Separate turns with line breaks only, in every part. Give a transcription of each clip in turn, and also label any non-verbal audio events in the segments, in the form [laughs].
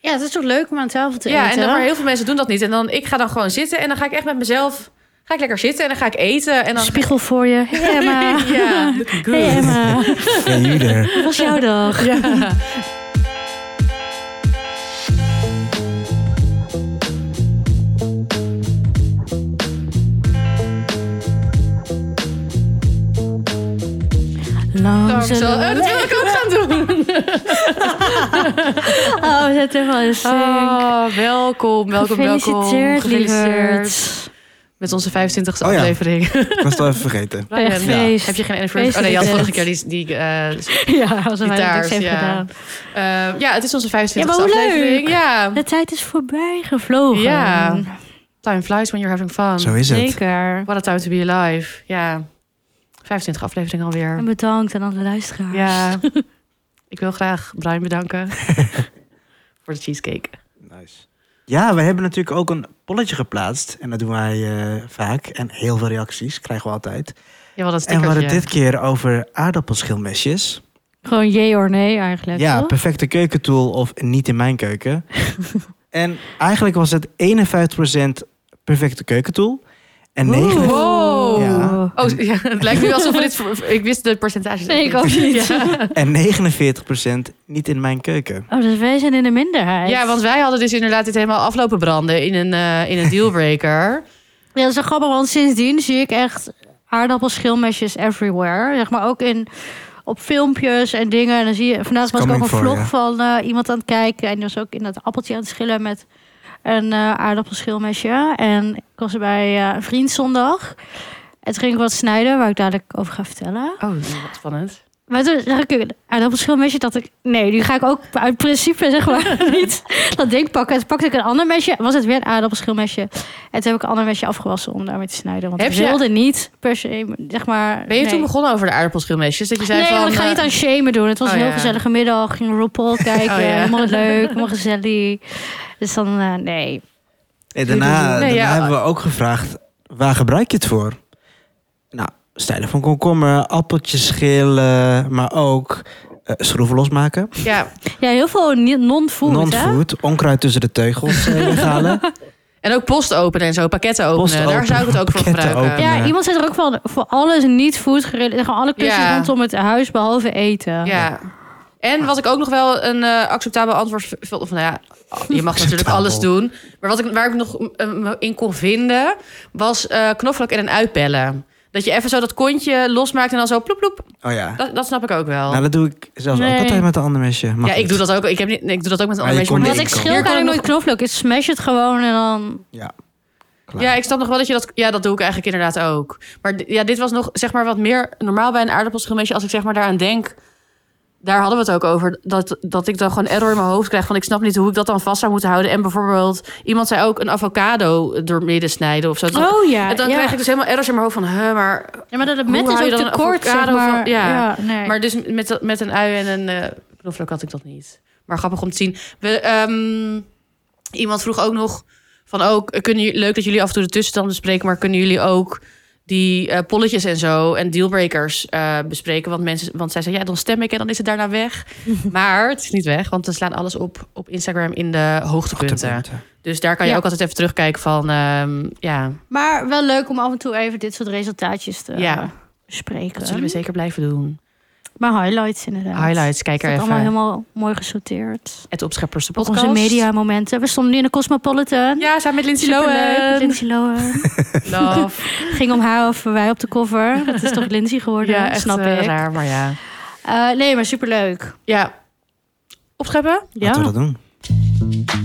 het is toch leuk om aan tafel te
Ja, en
eten.
dan, maar heel veel mensen doen dat niet. En dan ik ga dan gewoon zitten en dan ga ik echt met mezelf ga ik lekker zitten en dan ga ik eten en dan
Spiegel voor je.
[laughs]
Hey Emma.
ja, looking good.
Hey Emma.
En jullie daar.
Hoe was jouw dag?
Ja.
Lang
Dank
zullen
zo.
we-
[laughs] Eh, dat wil ik ook gaan doen.
Oh, we zitten helemaal in sync.
Oh, welkom, welkom,
Gefeliciteerd,
welkom.
lieverd.
Met onze 25e
Oh ja.
aflevering.
Ik was het al even
[laughs]
vergeten.
Brian,
Echt feest.
Heb je geen anniversary? Oh nee, je had vorige keer die, die eh,
[laughs] Ja, als wij dat
Gitaars,
niks heeft
ja.
gedaan.
Eh, ja, het is onze 25e
Ja, maar hoe
aflevering.
leuk.
Ja.
De tijd is voorbij gevlogen.
Ja. Time flies when you're having fun.
Zo is het.
Zeker.
What a time to be alive. Ja. 25 aflevering alweer.
En bedankt aan alle luisteraars.
[laughs] Ja. Ik wil graag Brian [laughs] bedanken voor de cheesecake.
Nice. Ja, we hebben natuurlijk ook een polletje geplaatst. En dat doen wij eh, vaak. En heel veel reacties krijgen we altijd.
Ja, wat een
En we
stickertje.
hadden dit keer over aardappelschilmesjes.
Gewoon jee of nee eigenlijk.
Ja,
toch?
perfecte keukentool of niet in mijn keuken. en eigenlijk was het 51% perfecte keukentool. En 9...
Wow.
Ja.
Oh, ja, het lijkt nu alsof we dit... voor- Ik wist de percentages.
Nee, ik ook niet.
[laughs] Ja.
En 49% niet in mijn keuken.
Oh, dus wij zijn in de minderheid.
Ja, want wij hadden dus inderdaad dit helemaal aflopen branden in een, eh, [laughs] in een dealbreaker.
Ja, dat is wel grappig, want sindsdien zie ik echt aardappelschilmesjes everywhere. Zeg maar ook in, op filmpjes en dingen. En dan zie je, vandaag was ik ook
coming
een
for
vlog
you.
van eh, iemand aan het kijken. En die was ook in dat appeltje aan het schillen met een eh, aardappelschilmesje. En ik was bij eh, een vriend zondag. En toen ging ik wat snijden, waar ik dadelijk over ga vertellen.
Oh, wat spannend.
Maar toen zag ik een aardappelschilmesje dat ik... Nee, nu ga ik ook uit principe zeg
[laughs]
maar [laughs] niet dat ding pakken. Toen pakte ik een ander mesje. Was het weer een aardappelschilmesje. En toen heb ik een ander mesje afgewassen om daarmee te snijden. Want
Heb
ik
je-
wilde niet per se, zeg maar...
Ben je
nee.
toen begonnen over de aardappelschilmesjes? Dat je zei
Nee,
van...
want ik ga
eh,
niet aan shamen doen. Het was
Oh,
een heel
ja.
gezellige middag. Ging
[laughs]
RuPaul kijken.
Oh, ja.
Helemaal leuk, helemaal gezellig. Dus dan, eh, nee.
Nee, daarna
Nee,
daarna
ja.
hebben we ook gevraagd, waar gebruik je het voor? Nou, stijlen van komkommer, appeltjes schillen, maar ook eh, schroeven losmaken.
Ja,
Ja, heel veel ni- non-food, hè?
Non-food, onkruid tussen de
[laughs]
teugels eh, weghalen.
en ook post openen en zo, pakketten openen.
Post
Daar
openen,
zou ik het ook voor
pakketten
gebruiken.
openen.
Ja,
Ja.
iemand zei er ook van voor alles niet food gerelateerd. Gewoon alle klussen
Ja.
rondom het huis, behalve eten.
Ja. En
Ah.
wat ik ook nog wel een eh, acceptabel antwoord v- vond. Of, nou ja, je mag natuurlijk
Acceptabel.
alles doen. Maar wat ik, waar ik nog eh, me in kon vinden, was eh knoflook en een uitpellen. Dat je even zo dat kontje losmaakt en dan zo ploep ploep.
Oh ja,
Dat, dat snap ik ook wel.
nou dat doe ik zelfs
Nee.
ook altijd met een ander mesje. Mag
ja, ik
niet.
doe dat ook. Ik, heb niet, nee, ik doe dat ook met een
Maar
ander
je kon
beetje.
Maar Wat ik
maar
Nee, ik ook.
schil
Hier
kan ik
kan
nooit knoflook. Ik smash het gewoon en dan...
Ja. Klaar.
Ja, ik snap nog wel dat je dat... Ja, dat doe ik eigenlijk inderdaad ook. Maar d- ja, dit was nog zeg maar wat meer normaal bij een aardappelschilmesje. Als ik zeg maar daaraan denk... Daar hadden we het ook over. Dat, dat ik dan gewoon error in mijn hoofd krijg. Van ik snap niet hoe ik dat dan vast zou moeten houden. En bijvoorbeeld... Iemand zei ook een avocado door midden snijden of zo. Dan-
Oh ja,
en dan
ja.
krijg ik dus helemaal errors in mijn hoofd van... Huh, maar,
Ja, maar dat het
Hoe
met is
hou je
ook
dan
te
een
kort, zeg
avocado
maar.
van- ja.
nee.
maar dus met, met een ui en een eh knoflook had ik dat niet. Maar grappig om te zien. We, ehm, iemand vroeg ook nog van ook kunnen jullie leuk dat jullie af en toe de tussenstand bespreken, maar kunnen jullie ook die eh, polletjes en zo en dealbreakers eh, bespreken? Want mensen, want zij zei ja, dan stem ik en dan is het daarna weg.
[laughs]
maar het is niet weg, want we slaan alles op op Instagram in de hoogtepunten.
Hoogtepunten.
Dus daar kan je
Ja.
ook altijd even terugkijken van ehm, ja,
Maar wel leuk om af en toe even dit soort resultaatjes te
Ja.
eh, bespreken.
dat zullen we zeker blijven doen.
Maar highlights inderdaad.
Highlights, kijk er
Dat
even.
allemaal helemaal mooi gesorteerd.
Het opscheppers de
Op
podcast.
onze mediamomenten. We stonden nu in de Cosmopolitan.
Ja, samen met Lindsay
Superleuk, met
Lohan.
Lindsay Lohan. [laughs]
Love.
Ging om haar of wij op de cover. Dat is toch Lindsay geworden,
Ja, echt
snap
eh,
ik.
raar, maar ja.
Eh, nee, maar superleuk.
Ja. Opscheppen?
Ja.
Laten we dat doen.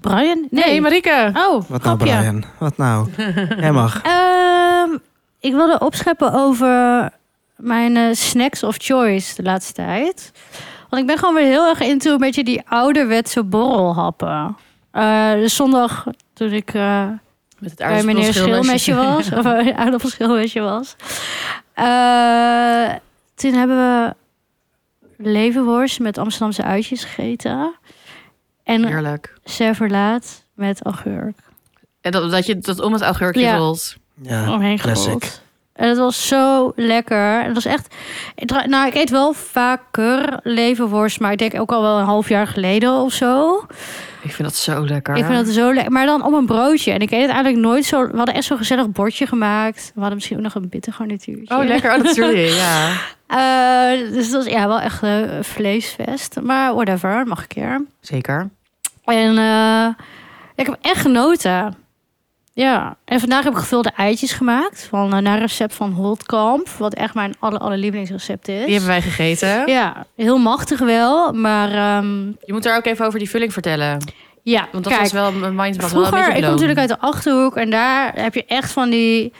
Brian? Nee,
Marike.
Oh,
Wat nou,
grapje.
Brian? Wat nou?
[laughs]
Jij mag.
Ehm, ik wilde opscheppen over mijn eh, snacks of choice de laatste tijd. Want ik ben gewoon weer heel erg into een beetje die ouderwetse borrelhappen. Eh, dus zondag toen ik eh,
Met het
bij meneer Schilmesje was, of eh, aardappelschilmesje was, eh, toen hebben we levenworst met Amsterdamse uitjes gegeten. En
Heerlijk.
serverlaat met augurk
En dat, dat je dat om het augurkje
Ja.
rolt.
Ja,
Oh.
omheen
classic.
gerold. En het was zo lekker. En Het was echt. ik dra- Nou, ik eet wel vaker levenworst, maar ik denk ook al wel een half jaar geleden of zo.
Ik vind dat zo lekker.
Ik vind dat zo lekker. Maar dan op een broodje. En ik eet het eigenlijk nooit zo. We hadden echt zo'n gezellig bordje gemaakt. We hadden misschien ook nog een bittergarnituurtje.
Oh, lekker. Oh, dat wil
[laughs]
je, ja.
Eh, dus dat was ja, wel echt eh, een vleesfest. Maar whatever, mag een keer.
Zeker.
En eh, ik heb echt genoten. Ja, en vandaag heb ik gevulde eitjes gemaakt. Van, eh, naar recept van Holtkamp. Wat echt mijn aller, aller lievelingsrecept is.
Die hebben wij gegeten.
Ja, heel machtig wel. Maar ehm,
Je moet daar ook even over die vulling vertellen.
ja,
Want dat
kijk,
was wel mijn mind was wel een
Vroeger,
beetje
ik kom
blown.
natuurlijk uit de Achterhoek en daar heb je echt van die...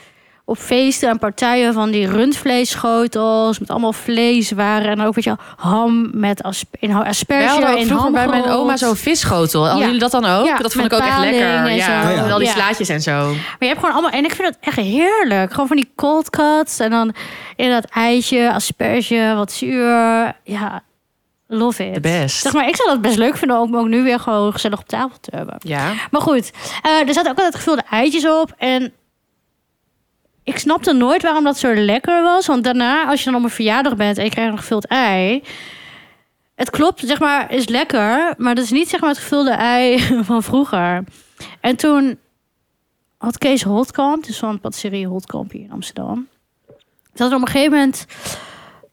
op feesten en partijen van die rundvleesschotels... met allemaal vleeswaren en ook, weet je wel, ham met asp in ha-
Wij
asperge
hadden ook
in
vroeger
ham
bij mijn
gerold.
oma zo'n visschotel. Hadden
Ja.
jullie dat dan ook?
Ja,
dat vond
met
ik ook echt
paling
lekker.
en
Ja,
zo.
Ja.
Met al die
Ja.
slaatjes en zo.
Maar je hebt gewoon allemaal... En ik vind dat echt heerlijk. Gewoon van die cold cuts en dan inderdaad eitje, asperge, wat zuur. Ja, love it.
De best.
Zeg maar, ik zou dat best leuk vinden om ook nu weer gewoon gezellig op tafel te hebben.
Ja.
Maar goed, eh, er zaten ook altijd gevulde eitjes op. En ik snapte nooit waarom dat zo lekker was. Want daarna, als je dan op een verjaardag bent en je krijgt een gevuld ei... Het klopt, zeg maar, is lekker. Maar dat is niet zeg maar het gevulde ei [laughs] van vroeger. En toen had Kees Holtkamp, dus van patisserie Holtkamp hier in Amsterdam... Dat er op een gegeven moment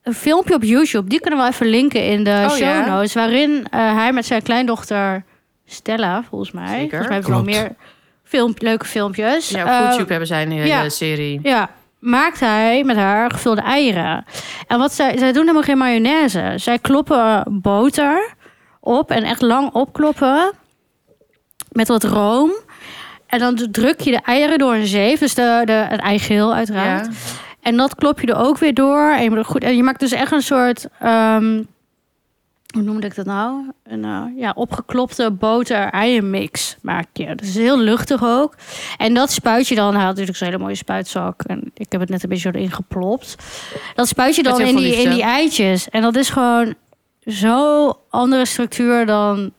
een filmpje op YouTube... die kunnen we even linken in de
Oh,
show
ja.
notes... waarin eh, hij met zijn kleindochter Stella, volgens mij...
Zeker.
Volgens mij hebben ze wel meer
Klopt.
film, leuke filmpjes.
ja, op
Eh,
YouTube hebben zij een hele
ja.
serie.
ja, maakt hij met haar gevulde eieren. En wat zij, zij doen helemaal geen mayonaise. Zij kloppen boter op en echt lang opkloppen met wat room. En dan d- druk je de eieren door een zeef, dus de, de, het eigeel uiteraard.
Ja.
En dat klop je er ook weer door. En je, moet het goed, en je maakt dus echt een soort. ehm, hoe noemde ik dat nou? Een eh, ja, opgeklopte boter-eienmix maak je. Dat is heel luchtig ook. En dat spuit je dan. Hij had natuurlijk zo'n hele mooie spuitzak. En ik heb het net een beetje erin geplopt. Dat spuit je
Met
dan
heel
in
veel
die, in
liefde.
die eitjes. En dat is gewoon zo andere structuur dan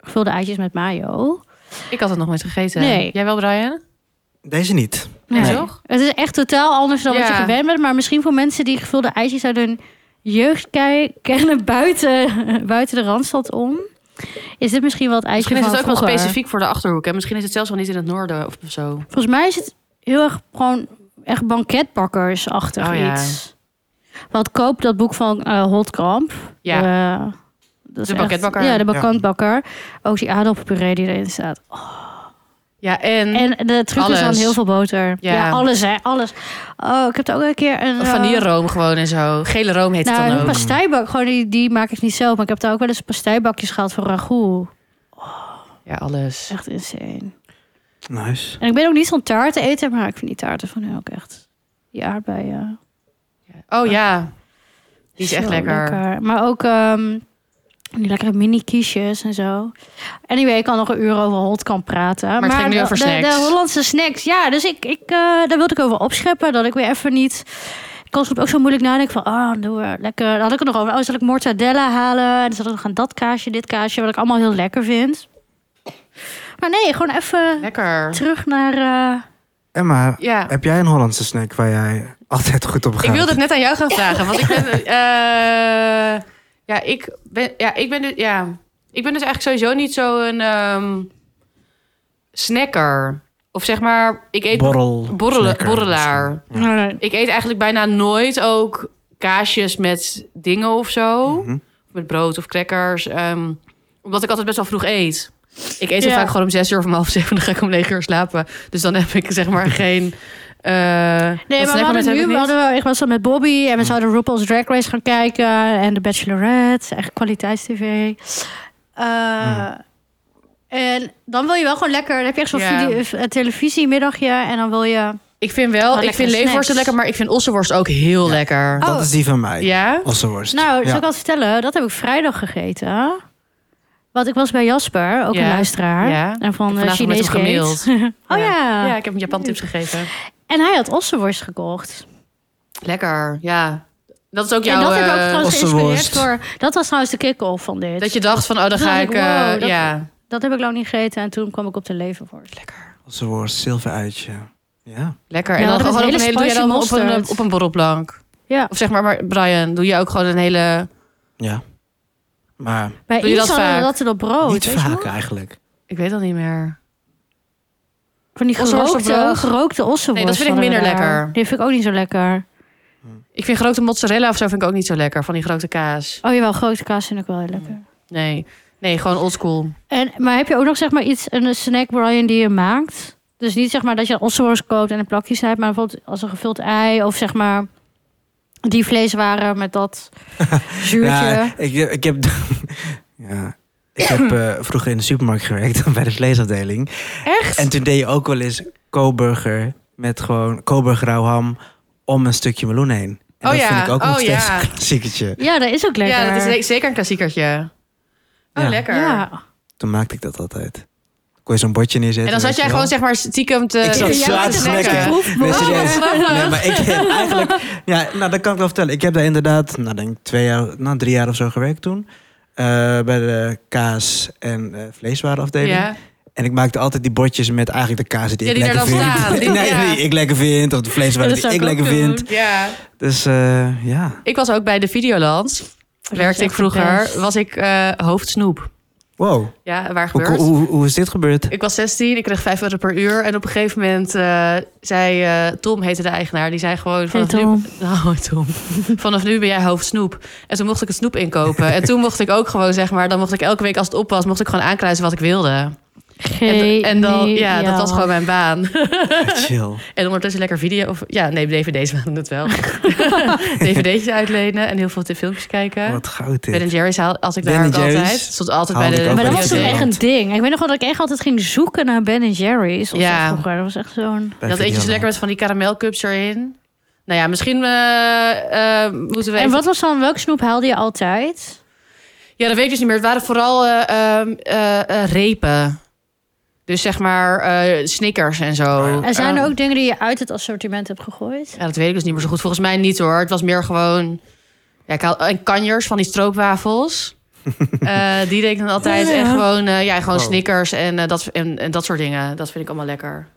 gevulde eitjes met mayo.
Ik had het nog nooit gegeten.
Nee.
Jij wel, Brian?
Deze niet.
Nee.
Ja, toch?
Het is echt totaal anders dan wat je
Ja.
gewend bent. Maar misschien voor mensen die gevulde ijsjes uit hun jeugd kei- kennen buiten, [laughs] buiten de Randstad om... is dit misschien wel het ijsje
Misschien is
van
het ook wel
vroeger.
specifiek voor de Achterhoek. En misschien is het zelfs wel niet in het noorden of zo.
Volgens mij is het heel erg gewoon echt banketbakkersachtig
Oh ja.
iets. Want koop dat boek van eh Holtkamp.
Ja.
Eh, dat is echt-
banketbakker.
ja, de banketbakker. Ook die aardappelpuree die erin staat.
Ja, en,
En de truc
Mm. Alles.
is dan heel veel boter. Ja.
Ja.
alles hè, alles. Oh, ik heb er ook een keer een... eh,
vanilleroom gewoon en zo. Gele room heet het
Nou,
dan
een
ook.
pasteibak, gewoon die, die maak ik niet zelf. Maar ik heb daar ook wel eens pasteibakjes gehaald voor ragout.
Ja, alles.
Echt insane.
Nice.
En ik ben ook niet zo'n taarten eten, maar ik vind die taarten van hun ook echt... Die aardbeien.
Oh ja. Die is echt
zo
lekker.
Maar ook ehm, die lekkere mini-kiesjes en zo. Anyway, ik kan nog een uur over hot kan praten. Maar,
het ging nu
de-
over
de,
snacks.
de Hollandse snacks. Ja, dus ik, ik, eh, daar wilde ik over opscheppen. Dat ik weer even niet... Ik kon soms ook zo moeilijk nadenken van, ah, doe er lekker. Dan had ik het nog over, oh, zal ik mortadella halen? En dan zat ik nog aan dat kaasje, dit kaasje, wat ik allemaal heel lekker vind. Maar nee, gewoon even
Lekker.
terug naar... eh,
Emma,
Ja.
heb jij een Hollandse snack waar jij altijd goed op gaat?
Ik wilde het net aan jou gaan vragen. Want ik [laughs] ben. eh, ja, ik ben, ja, ik ben dus, ja, ik ben dus eigenlijk sowieso niet zo'n ehm, snacker. Of zeg maar, ik eet
Borrel.
borrelen-
snacker.
borrelaar. Ik eet eigenlijk bijna nooit ook kaasjes met dingen of zo.
Mhm.
Met brood of crackers. ehm, omdat ik altijd best wel vroeg eet. Ik eet zo
Ja.
vaak gewoon om zes uur of om half zeven. [laughs] Dan ga ik om negen uur slapen. Dus dan heb ik zeg maar geen... eh,
Nee,
dat
maar we
snackmoment
hadden
heb
nu,
ik
we
niet.
hadden, wel- ik was dan met Bobby en we zouden RuPaul's Drag Race gaan kijken en The Bachelorette, echt kwaliteitstv. Eh,
Mm.
En dan wil je wel gewoon lekker, dan heb je echt zo'n
Ja.
video- eh, televisiemiddagje en dan wil je...
Ik vind wel,
Oh,
ik
lekkere
vind leverworst
snacks.
lekker, maar ik vind ossenworst ook heel lekker.
Dat
Oh.
is die van mij.
Ja?
Ossenworst.
Nou,
Ja.
zal ik al vertellen, dat heb ik vrijdag gegeten. Want ik was bij Jasper, ook
Ja.
een luisteraar.
Ja.
En van eh,
Vandaag nog met
Chinees
hem gemaild.
Gate. [laughs] Oh ja.
Ja, ik heb hem Japan tips gegeven.
En hij had ossenworst gekocht.
Lekker, ja. Dat is ook
en
jouw...
dat heb ik ook
eh,
trouwens geïnspireerd
ossenworst.
door... Dat was trouwens de kick-off van dit.
dat je dacht van, oh, dan
Toen
ga
dacht
ik...
ik, wow,
eh,
dat-
ja.
Dat heb ik lang niet gegeten en toen kwam ik op de leverworst.
Lekker.
Ossenworst, zilveruitje. Ja.
Lekker.
Ja,
en dan
dat is
gewoon op
hele
een hele, doe je dan op
spicy
een, eh,
mosterd.
op een borrelplank.
Ja,
Of zeg maar, maar Brian, doe je ook gewoon een hele...
ja. Maar
bij
Doe je
iets
dat
hadden we
vaak?
dat in op
Oh,
brood.
niet
weet je
vaak
wel?
eigenlijk.
Ik weet dat niet meer.
Van die
Ossenworst op
gerookte,
brood.
gerookte ossenworst.
Nee, dat vind ik
hadden we
minder
daar.
lekker.
Die vind ik ook niet zo lekker.
Ik vind grote mozzarella of zo vind ik ook niet zo lekker. Van die grote kaas.
Oh jawel, grote kaas vind ik wel heel lekker.
Nee, nee gewoon oldschool.
En, maar heb je ook nog zeg maar iets, een snack Brian die je maakt? Dus niet zeg maar dat je ossenworst koopt en een plakjes hebt, maar bijvoorbeeld als een gevuld ei of zeg maar die vleeswaren met dat zuurtje.
Ja, ik, ik heb, [laughs] ja, ik heb eh, vroeger in de supermarkt gewerkt [laughs] bij de vleesafdeling.
Echt?
En toen deed je ook wel eens koburger met gewoon koburger rauw ham om een stukje meloen heen. En
Oh
dat
ja,
vind ik ook nog
oh
steeds [laughs]
ja.
een klassiekertje.
Ja, dat is ook lekker.
Ja, dat is le- zeker een klassiekertje. Oh,
Ja.
lekker.
Ja.
Toen maakte ik dat altijd. Kon je zo'n bordje neerzetten.
En dan zat
weet
jij
je
gewoon
wel.
zeg maar stiekem te...
Ik zat
te
zwaar te
snacken.
snacken.
proefbord.
Nee, serieus.
[laughs] Oh, wat
Nee, maar ik heb eigenlijk... Ja, nou, dat kan ik wel vertellen. Ik heb daar inderdaad, nou, denk ik twee jaar, nou, drie jaar of zo gewerkt toen. eh, bij de kaas- en eh, vleeswarenafdeling.
Ja.
En ik maakte altijd die bordjes met eigenlijk de kazen die,
Ja,
ik
die er
lekker
dan
vind.
staan. Die-
[laughs] nee,
ja.
die ik lekker vind. Of de vleeswaren
Ja, dat
die ik
zou ik
lekker
ook doen.
vind.
ja.
Dus eh, ja.
Ik was ook bij de Videoland.
is
Werkte ik
echt het
vroeger.
best.
Was ik eh, hoofdsnoep.
Wow.
Ja, waar
Hoe,
gebeurt?
hoe, hoe is dit gebeurd?
Ik was 16, ik kreeg 5 euro per uur. En op een gegeven moment eh, zei eh, Tom, heette de eigenaar, die zei gewoon vanaf
Hey,
[laughs]
Tom.
nu. Oh, Tom. Vanaf nu ben jij hoofdsnoep. En toen mocht ik het snoep inkopen. En toen mocht ik ook gewoon, zeg maar, dan mocht ik elke week als het op was, mocht ik gewoon aankruisen wat ik wilde. En, en dan, ja, dat was gewoon mijn baan.
Ah, Chill.
En ondertussen lekker video, of ja, nee, dvd's waren het
[laughs]
wel. dvd's uitlenen en heel veel filmpjes kijken.
Wat goud dit.
Ben Jerry's haal, als ik
Ben
daar ook
Jerry's
altijd. Stond altijd bij
haalde
de.
ik ook
Maar dat
bij
was
de
toen
Videoland.
echt een ding. Ik weet nog wel dat ik echt altijd ging zoeken naar Ben Jerry's. Of
Ja.
zo vroeger. Dat was echt zo'n...
Bij
dat eet je
Videoland.
zo lekker met van die karamelcups erin. Nou ja, misschien eh, eh, moeten we.
En
even-
wat was dan, welke snoep haalde je altijd?
Ja, dat weet ik dus niet meer. Het waren vooral eh, ehm, eh, eh, repen. Dus zeg maar eh, snickers en zo.
En zijn er
Eh,
ook dingen die je uit het assortiment hebt gegooid?
Ja, dat weet ik dus niet meer zo goed. Volgens mij niet hoor. Het was meer gewoon. Ja, ik haal- en kanjers van die stroopwafels. Eh, die deed ik dan altijd.
Ja, ja.
En gewoon, eh, ja, gewoon
Wow.
snickers en, eh, dat, en, en dat soort dingen. Dat vind ik allemaal lekker.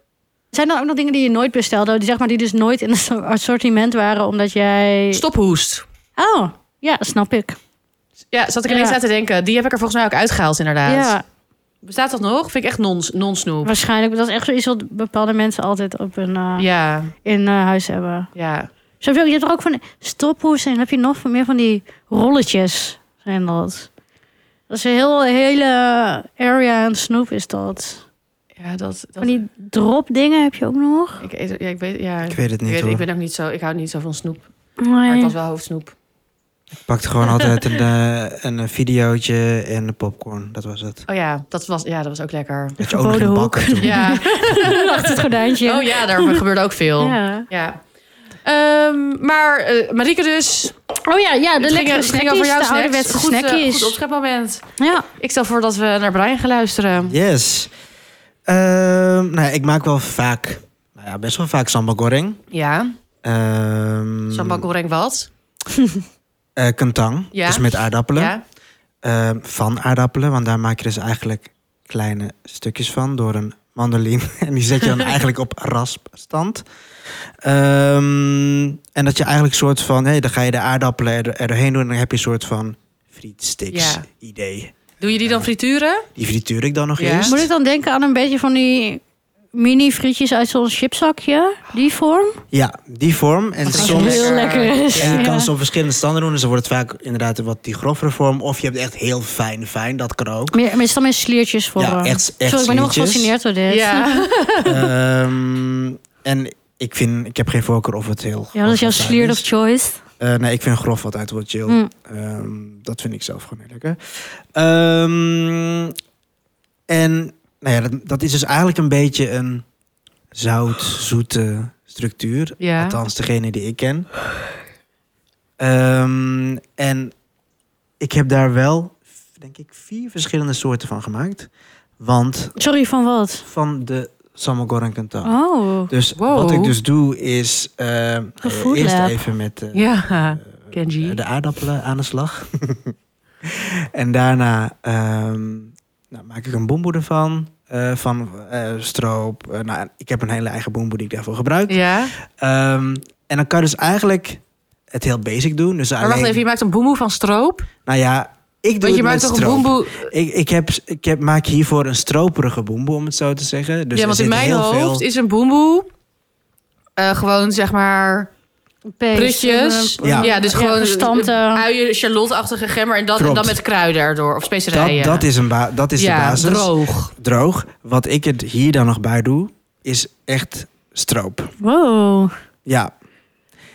Zijn er ook nog dingen die je nooit bestelde, die, zeg maar, die dus nooit in het [laughs] assortiment waren, omdat jij...
Stophoest.
Oh, ja, snap ik.
Ja, zat ik ineens
Ja.
aan te denken. Die heb ik er volgens mij ook uitgehaald, inderdaad.
Ja,
Bestaat dat nog? Vind ik echt non- non-snoep.
waarschijnlijk. Dat is echt zoiets wat bepaalde mensen altijd op hun, eh,
ja,
in eh, huis hebben.
ja.
Zo heb je ook- je hebt er ook van stophoes en dan heb je nog meer van die rolletjes, zijn dat. Dat is een heel, hele area aan snoep is dat.
Ja, dat... dat
Van die drop dingen heb je ook nog.
ik, eet- ja, ik weet... Ja,
Ik weet het niet
ik,
hoor.
ik
Ik,
ben ook niet zo... Ik hou niet zo van snoep. Maar ik
Nee.
was wel hoofdsnoep.
pakte gewoon altijd een, eh, een eh, videootje en een popcorn. Dat was het.
Oh ja, dat was, ja, dat was ook lekker.
Dat je ook nog
verboden
in
hoek.
bakken toen.
Ja.
[laughs] Achter het gordijntje.
Oh ja, daar gebeurde ook veel. Ja.
Ja.
Ehm, maar eh Marieke dus...
Oh ja, ja de
het ging,
lekkere
het
snackies,
ging over jouw
de
snacks.
ouderwetse
goed, eh,
snackies.
goed opschepmoment.
ja.
Ik stel voor dat we naar Brian gaan luisteren.
Yes. Ehm, nou ja, ik maak wel vaak, nou ja, best wel vaak sambal goreng.
Ja.
Ehm,
Sambal goreng wat?
eh, kentang,
Ja.
dus met aardappelen.
Ja.
Ehm, van aardappelen, want daar maak je dus eigenlijk kleine stukjes van door een mandoline. [laughs] En die zet je
[laughs]
dan eigenlijk op raspstand. Ehm, en dat je eigenlijk soort van, hey, dan ga je de aardappelen er, er doorheen doen en dan heb je een soort van frietsticks
Ja.
idee.
Doe je die dan frituren?
Die frituur ik dan nog
Ja.
eerst.
Moet ik dan denken aan een beetje van die mini frietjes uit zo'n chipzakje? Die vorm?
Ja, die vorm. En
Dat is
soms
heel
lekker.
lekker is.
En je
Ja.
kan ze op verschillende standen doen. Dus dan wordt het vaak inderdaad een wat die grovere vorm. Of je hebt echt heel fijn, fijn. Dat kan ook.
Meer, maar is dan met sliertjes voor.
Ja, echt, echt
Sorry, ik ben helemaal
sliertjes.
gefascineerd door dit.
[laughs] Ehm, en ik, vind, ik heb geen voorkeur of het heel
Ja, dat is jouw
grof
sliert of
is.
choice.
Eh, nee, ik vind grof altijd wel chill.
Mm.
Ehm, dat vind ik zelf gewoon heel lekker. Ehm, en nou ja, dat, dat is dus eigenlijk een beetje een zout-zoete structuur.
Ja.
Althans, degene die ik ken. Ehm, en ik heb daar wel, denk ik, vier verschillende soorten van gemaakt. Want
Sorry, van wat?
van de sambal goreng kentang.
Oh.
Dus
Wow.
wat ik dus doe is ehm, ga je
food
eerst
lab.
even met eh,
Ja. Kenji.
de aardappelen aan de slag. [laughs] en daarna ehm, nou, maak ik een bomboe ervan. Eh, eh, van eh, stroop. Eh, nou, ik heb een hele eigen boemboe die ik daarvoor gebruik.
Ja.
Ehm, en dan kan je dus eigenlijk het heel basic doen. Dus
Maar wacht
alleen-
even, je maakt een boemoe van stroop?
Nou ja, ik doe
Want je
het
maakt
met
toch een
stroop.
boemboe...
Ik, ik, heb, ik heb, maak hiervoor een stroperige boemboe, om het zo te zeggen. Dus
ja,
er
want in
zit
mijn
heel
hoofd
veel...
is een boemboe eh, gewoon zeg maar
Pees,
prutjes.
eh,
Ja.
Ja. dus gewoon
gestampte-
uien, charlotte-achtige gemmer en, dat, en
Klopt.
dan met kruiden erdoor. Of specerijen.
dat, dat is, een ba- dat is
ja,
de basis.
droog.
Droog. Wat ik er hier dan nog bij doe, is echt stroop.
Wow.
Ja,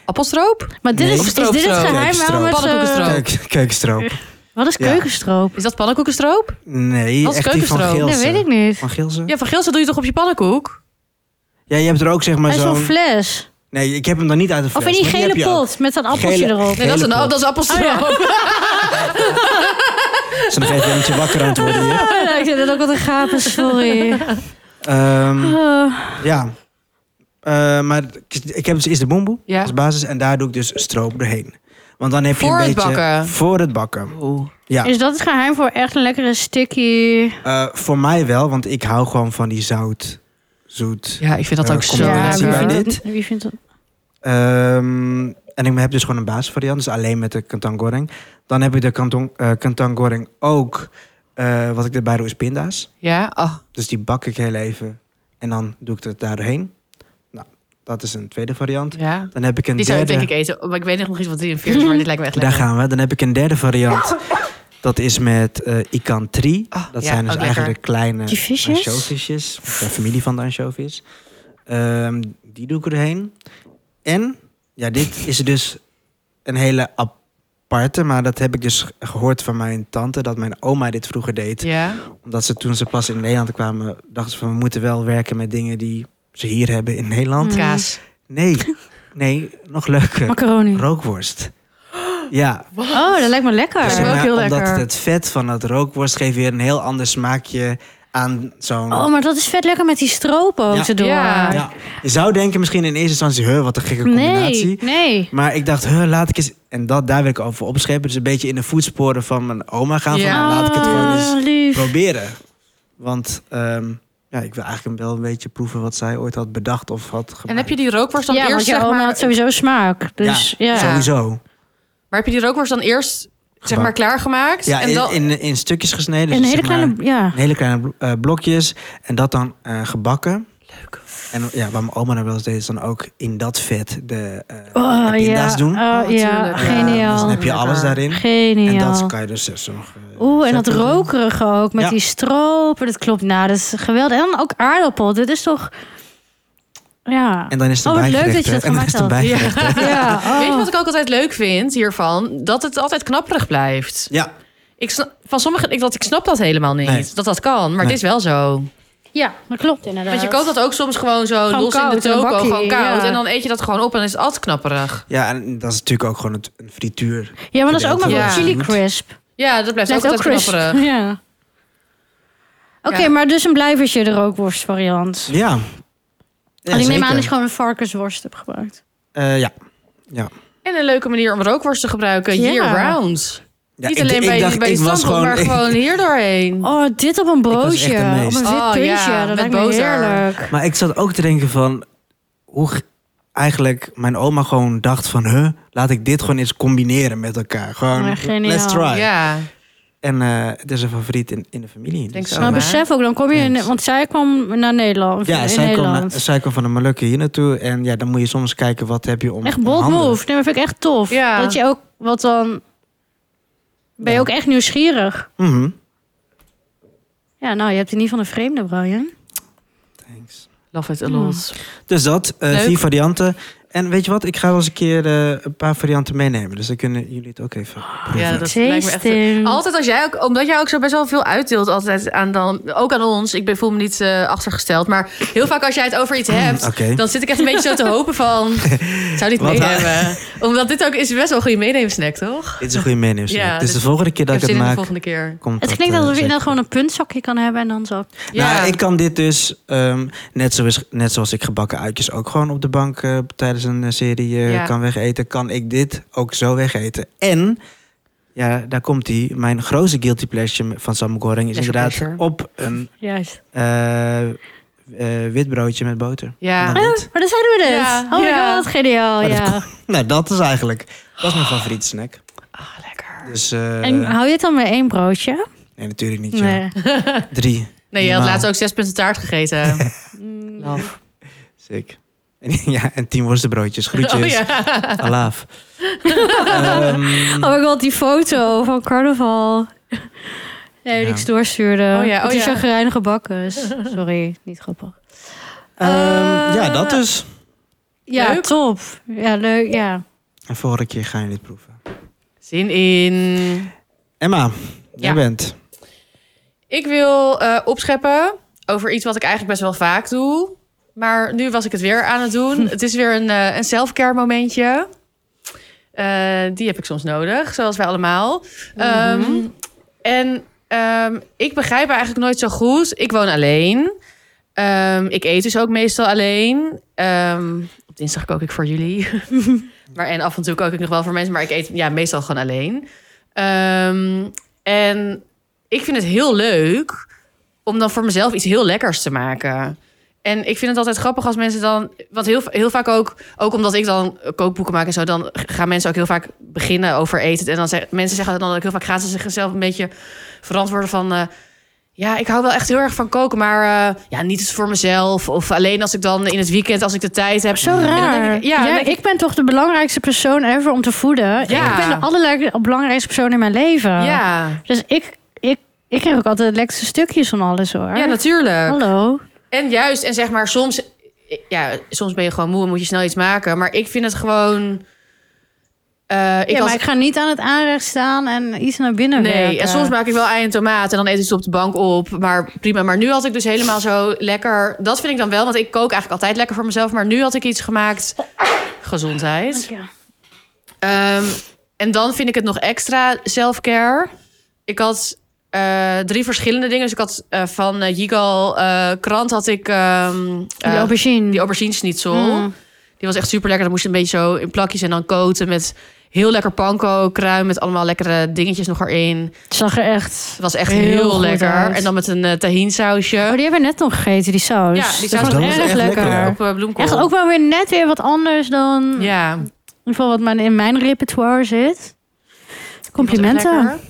Appelstroop?
Maar dit
Nee.
is, is dit het
Stroopstroop.
geheim waarom het...
Pannenkoekenstroop.
eh,
[laughs] Keuk, keukstroop.
wat is
Ja.
keukenstroop?
Is dat pannenkoekenstroop?
Nee,
Wat is
echt die van
keukenstroop?
Geelsen.
Dat weet ik niet.
Van Geelsen? Ja.
Ja, van Geelsen doe je toch op je pannenkoek?
je hebt er ook zeg maar
Hij is zo'n
zo'n...
fles.
Nee, ik heb hem dan niet uit de fles.
Of in die
maar heb
gele
je ook.
pot met dat appeltje
Gele- [laughs]
erop. [laughs]
Nee, dat is, een,
Hele pot.
dat is appelstroop.
Oh,
Ze nog even een beetje wakker aan het worden
[laughs]
hier.
Ja, ik zit het ook wat een gapen,
[laughs]
sorry.
Mm. Ehm,
Oh,
ja. Eh, maar ik, ik heb dus eerst de boemboe
[laughs] Ja.
als basis. En daar doe ik dus stroop doorheen. Want dan heb je
Voor
een
het
beetje...
bakken.
Voor het bakken.
Oeh.
Ja.
Is dat het geheim voor echt een lekkere sticky...
Eh, voor mij wel, want ik hou gewoon van die zout, zoet.
Ja, ik vind dat
Eh,
ook
kom
zo
maar
ja,
net
wie
bij
lekker.
vindt,
dit.
het, wie vindt het?
Ehm, en ik heb dus gewoon een basisvariant, dus alleen met de kantang goreng. Dan heb ik de kantong, eh, kantang goreng ook, eh, wat ik erbij doe, is pinda's.
Ja, oh.
Dus die bak ik heel even en dan doe ik het daarheen. Nou, dat is een tweede variant.
ja.
Dan heb ik een
Die zou
derde...
ik denk ik eten. Maar ik weet nog niet wat 43 is, maar dit lijkt me echt
Daar
lekker.
gaan we. Dan heb ik een derde variant. Dat is met eh ikan tri.
Ah,
dat
ja,
zijn dus
ook lekker.
eigenlijk de kleine
Die visjes?
ansjovisjes. De familie van de ansjovis. Ehm, die doe ik erheen. En, ja, dit is dus een hele aparte. Maar dat heb ik dus gehoord van mijn tante. Dat mijn oma dit vroeger deed.
Ja.
Omdat ze toen ze pas in Nederland kwamen... dachten ze van, we moeten wel werken met dingen die ze hier hebben in Nederland.
Mm.
Kaas.
Nee, nee, nog leuker.
Macaroni.
Rookworst. Ja,
Oh, dat lijkt me lekker.
dus
Dat
zeg
lijkt me ook
maar,
heel
omdat
lekker.
het vet van dat rookworst geeft weer een heel ander smaakje aan zo'n...
Oh, maar dat is vet lekker met die stroop ook
Ja.
tussendoor.
Ja.
ja. Je zou denken misschien in eerste instantie, huh, wat een gekke combinatie.
Nee, nee.
Maar ik dacht, huh, laat ik eens... En dat, daar wil ik over opscheppen. Dus een beetje in de voetsporen van mijn oma gaan.
Ja.
Van, nou, laat ik het gewoon eens
Ah, lief.
proberen. Want ehm, ja, ik wil eigenlijk wel een beetje proeven wat zij ooit had bedacht of had gemaakt.
En heb je die rookworst dan
ja, want
eerst,
jouw
zeg
oma
maar...
had sowieso smaak. Dus ja.
zo-
Sowieso.
Maar heb je die rookworst dan eerst, zeg maar,
Gebak.
klaargemaakt?
Ja,
en dan...
in, in, in stukjes gesneden.
En
dus
hele
zeg maar-
kleine... Ja.
En Hele kleine bl- eh, blokjes. En dat dan eh, gebakken.
Leuk.
En ja, waar mijn oma nou wel eens deed, is dan ook in dat vet de eh
Oh,
de pinda's
ja.
doen.
Oh, ja,
Oh, tuurlijk.
Ja, dus dan
geniaal.
heb je alles
Lekker.
daarin. En
Geniaal.
dat kan je dus zo nog... eh,
Oeh, en dat
zetten.
rokerige ook met
Ja.
die stropen. Dat klopt. Nou, dat is geweldig. En dan ook aardappel. Dit is toch... Ja.
En dan is het
Oh,
een
wat leuk
bijgerecht,
dat je
hè.
dat
En dan is het een
gemaakt
bijgerecht. hè.
ja,
Weet je
oh.
wat ik ook altijd leuk vind hiervan? Dat het altijd knapperig blijft.
Ja,
Ik snap, van sommigen, ik, dat, ik snap dat helemaal niet.
Nee.
Dat dat kan, maar
Nee.
het is wel zo.
ja, dat klopt inderdaad.
Want je koopt dat ook soms gewoon zo
Gewoon
los in
koud,
de
in een
toko,
bakkie,
gewoon koud.
ja.
En dan eet je dat gewoon op en dan is het altijd knapperig.
ja, en dat is natuurlijk ook gewoon het, een frituur.
Ja, maar dat is ook maar
Ja.
wel chili crisp.
Ja, dat blijft
Lijkt
ook
ook
altijd
crisp.
knapperig.
Ja. Oké,
Ja.
maar dus een blijvertje de rookworst variant.
Ja. ja
Want ik neem
zeker.
aan dat je gewoon een varkensworst hebt gebruikt.
Eh, ja.
En een leuke manier om rookworst te gebruiken,
Ja.
year round.
ja.
Niet
ik-
alleen
ik
bij,
dacht,
bij die
[laughs] ik was
strandbroek, maar gewoon hier doorheen.
Oh, dit op een
was echt Oh,
broodje.
de
Op
meest.
een wit
Mm. Oh,
puntje.
ja,
dat
met
lijkt me
boter.
heerlijk.
Maar ik zat ook te denken van hoe g- eigenlijk mijn oma gewoon dacht van, huh, laat ik dit gewoon eens combineren met elkaar. Gewoon,
Maar Oh, geniaal.
let's try.
Ja,
En eh, het is een favoriet in, in de familie.
Denk
Dus,
zo.
eh,
Maar
maar-
besef ook, dan kom je in... Want zij kwam naar Nederland. of
ja,
in
zij kwam,
Nederland.
na- zij kwam van de Molukken hier naartoe. En ja, dan moet je soms kijken wat heb je om
Echt
om
bold
handen.
move. Nee, maar vind ik echt tof.
Ja.
Dat je ook wat dan... Ben je
Ja.
ook echt nieuwsgierig?
Mhm.
Ja, nou, je hebt in ieder geval een vreemde, Brian.
Thanks.
love it a
Hmm.
lot.
Dus dat, eh,
Leuk.
vier varianten. En weet je wat, ik ga wel eens een keer eh, een paar varianten meenemen. Dus dan kunnen jullie het ook even proeven.
Ja, dat lijkt me echt...
Mm.
Tasting.
Altijd als jij ook, omdat jij ook zo best wel veel uitdeelt, altijd aan dan, ook aan ons. Ik ben, voel me niet eh, achtergesteld, maar heel vaak als jij het over iets hebt,
Mm, Oké.
dan zit ik echt een beetje zo te hopen van,
[laughs]
zou dit
Wat
meenemen? Omdat dit ook is best wel een goede meeneemsnack, toch?
Dit is een goede menu. snack.
Ja,
dus
dit-
de volgende keer
Ik
dat
heb
ik,
zin
het
in de
maak,
volgende keer.
komt
Het klinkt
eh,
alsof je
zeker.
dan gewoon een puntzakje kan hebben en dan zo.
Ja.
Nou, ik kan dit dus, ehm, net, zoals, net zoals ik gebakken uitjes ook gewoon op de bank eh, tijdens een eh, serie eh,
Ja.
kan wegeten, kan ik dit ook zo wegeten. En Ja, daar komt hij. Mijn grootste guilty pleasure van Sam Goreng is
Pleasure,
inderdaad
pleasure.
op een
Juist.
eh eh, wit broodje met boter.
Ja.
Nou, dat,
Maar dan zeiden we dit.
Ja.
Oh my
Ja.
god, geniaal.
Maar dat
Ja.
nou, dat is eigenlijk dat is mijn favoriete snack.
Ah, lekker.
Dus eh,
En hou je het dan met één broodje?
nee, natuurlijk niet. joh.
[laughs]
Nee.
Drie,
Nee, je had
Nou.
laatst ook zes punten taart
[laughs]
gegeten.
Mm.
[laughs] Oh, Love.
zeker. [laughs] En, ja, en tien worstenbroodjes, groetjes,
Oh,
[laughs]
ja. [laughs]
alaaf. Ehm,
Oh my god, die foto van carnaval. [laughs] Nee, die
Ja.
ik doorstuurde.
Oh ja, oh
Met die
ja.
chagrijnige bakkers. [laughs] Sorry, niet grappig.
ehm,
Eh,
ja, dat dus.
Ja,
Leuk.
top. Ja, leuk. Ja.
En volgende keer ga je dit proeven.
Zin in.
Emma,
Ja.
jij bent.
Ik wil eh, opscheppen over iets wat ik eigenlijk best wel vaak doe. Maar nu was ik het weer aan het doen. het is weer een, eh een self-care momentje. Eh, die heb ik soms nodig, zoals wij allemaal. Ehm, en ehm, ik begrijp eigenlijk nooit zo goed. Ik woon alleen. Ehm, ik eet dus ook meestal alleen. Ehm, op dinsdag kook ik voor jullie. [laughs] maar en af en toe kook ik nog wel voor mensen. Maar ik eet ja, meestal gewoon alleen. Ehm, en ik vind het heel leuk om dan voor mezelf iets heel lekkers te maken. En ik vind het altijd grappig als mensen dan... Want heel, heel vaak ook, ook omdat ik dan kookboeken maak en zo... dan gaan mensen ook heel vaak beginnen over eten. En dan zeggen mensen zeggen dan ook heel vaak... gaan ze zichzelf een beetje verantwoorden van... eh, ja, ik hou wel echt heel erg van koken, maar eh, ja, niet eens voor mezelf. Of alleen als ik dan in het weekend, als ik de tijd heb.
Zo
En dan denk
raar.
ik-
ja,
ja, dan denk
ik, ben toch de belangrijkste persoon ever om te voeden.
Ja.
Ik ben de allerbelangrijkste persoon in mijn leven.
ja.
Dus ik, ik, ik heb ook altijd de lekkerste stukjes van alles hoor.
ja, natuurlijk.
Hallo.
En juist, en zeg maar, soms, ja, soms ben je gewoon moe en moet je snel iets maken. Maar ik vind het gewoon. eh, ik
ja,
was-
maar ik ga niet aan het aanrecht staan en iets naar binnen
nee,
werken.
en soms maak ik wel ei en tomaat en dan eet ik ze op de bank op. Maar prima. Maar nu had ik dus helemaal zo lekker. Dat vind ik dan wel, want ik kook eigenlijk altijd lekker voor mezelf. Maar nu had ik iets gemaakt. Gezondheid.
Ja.
Ehm, en dan vind ik het nog extra self-care. Ik had eh, drie verschillende dingen. Dus ik had eh, van eh, Jigal eh, krant had ik ehm,
Die
eh,
aubergine.
die aubergine schnitzel.
Mm.
Die was echt super lekker. Dan moest je een beetje zo in plakjes en dan koten met heel lekker panko, kruim met allemaal lekkere dingetjes nog erin.
Het zag er echt...
Het was echt
Heel
heel,
goed
lekker.
uit.
En dan met een eh tahin sausje.
Oh, die hebben we net nog gegeten, die saus.
ja, die
Dat
saus was
was
echt,
echt
lekker.
lekker.
Op eh, bloemkool.
Echt ook wel weer net weer wat anders dan... In
Ja.
ieder geval wat mijn, in mijn repertoire zit.
Die was
Complimenten.
echt lekker.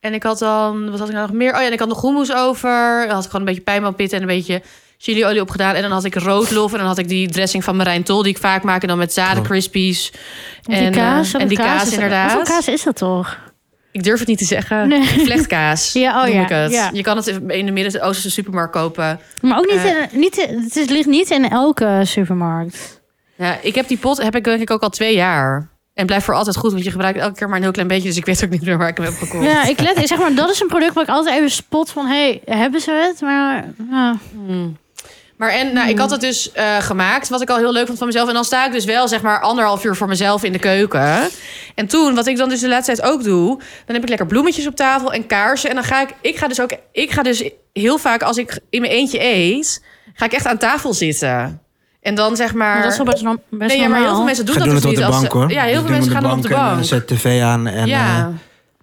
En ik had dan, wat had ik nou nog meer? Oh ja, en ik had nog hummus over. Dan had ik gewoon een beetje pijnbalpitten en een beetje chiliolie opgedaan. En dan had ik roodlof en dan had ik die dressing van Marijn Tol... die ik vaak maak en dan met zadencrispies.
Oh. Die
En, eh,
kaas.
en die kaas,
is-
inderdaad. Eh.
Hoeveel kaas is dat toch?
Ik durf het niet te zeggen.
Nee. [laughs]
Vlechtkaas
Ja, oh
noem
ja,
ik het.
ja.
Je kan het in de Midden-Oosterse supermarkt kopen.
Maar ook niet,
Eh.
in, niet in- het is- ligt niet in elke supermarkt.
Ja, ik heb die pot heb ik denk ik ook al twee jaar. En blijft voor altijd goed, want je gebruikt elke keer maar een heel klein beetje. Dus ik weet ook niet meer waar ik hem heb gekocht.
Ja, ik let, zeg maar, dat is een product waar ik altijd even spot van, hé, hey, hebben ze het? Maar ja.
Hmm. Maar en, nou, ik had het dus eh, gemaakt, wat ik al heel leuk vond van mezelf. En dan sta ik dus wel, zeg maar, anderhalf uur voor mezelf in de keuken. En toen, wat ik dan dus de laatste tijd ook doe... dan heb ik lekker bloemetjes op tafel en kaarsen. En dan ga ik, ik ga dus ook, ik ga dus heel vaak als ik in mijn eentje eet... ga ik echt aan tafel zitten. En dan zeg maar...
dat is wel best, no- best
nee, ja, maar heel veel
normaal.
mensen doen
Ga
dat
doen
dus
het op
niet.
de
als
bank
ze-
hoor.
Ja, heel veel
Doen we
mensen gaan dan op de
En,
bank.
eh, zet tv aan en eh,
ja.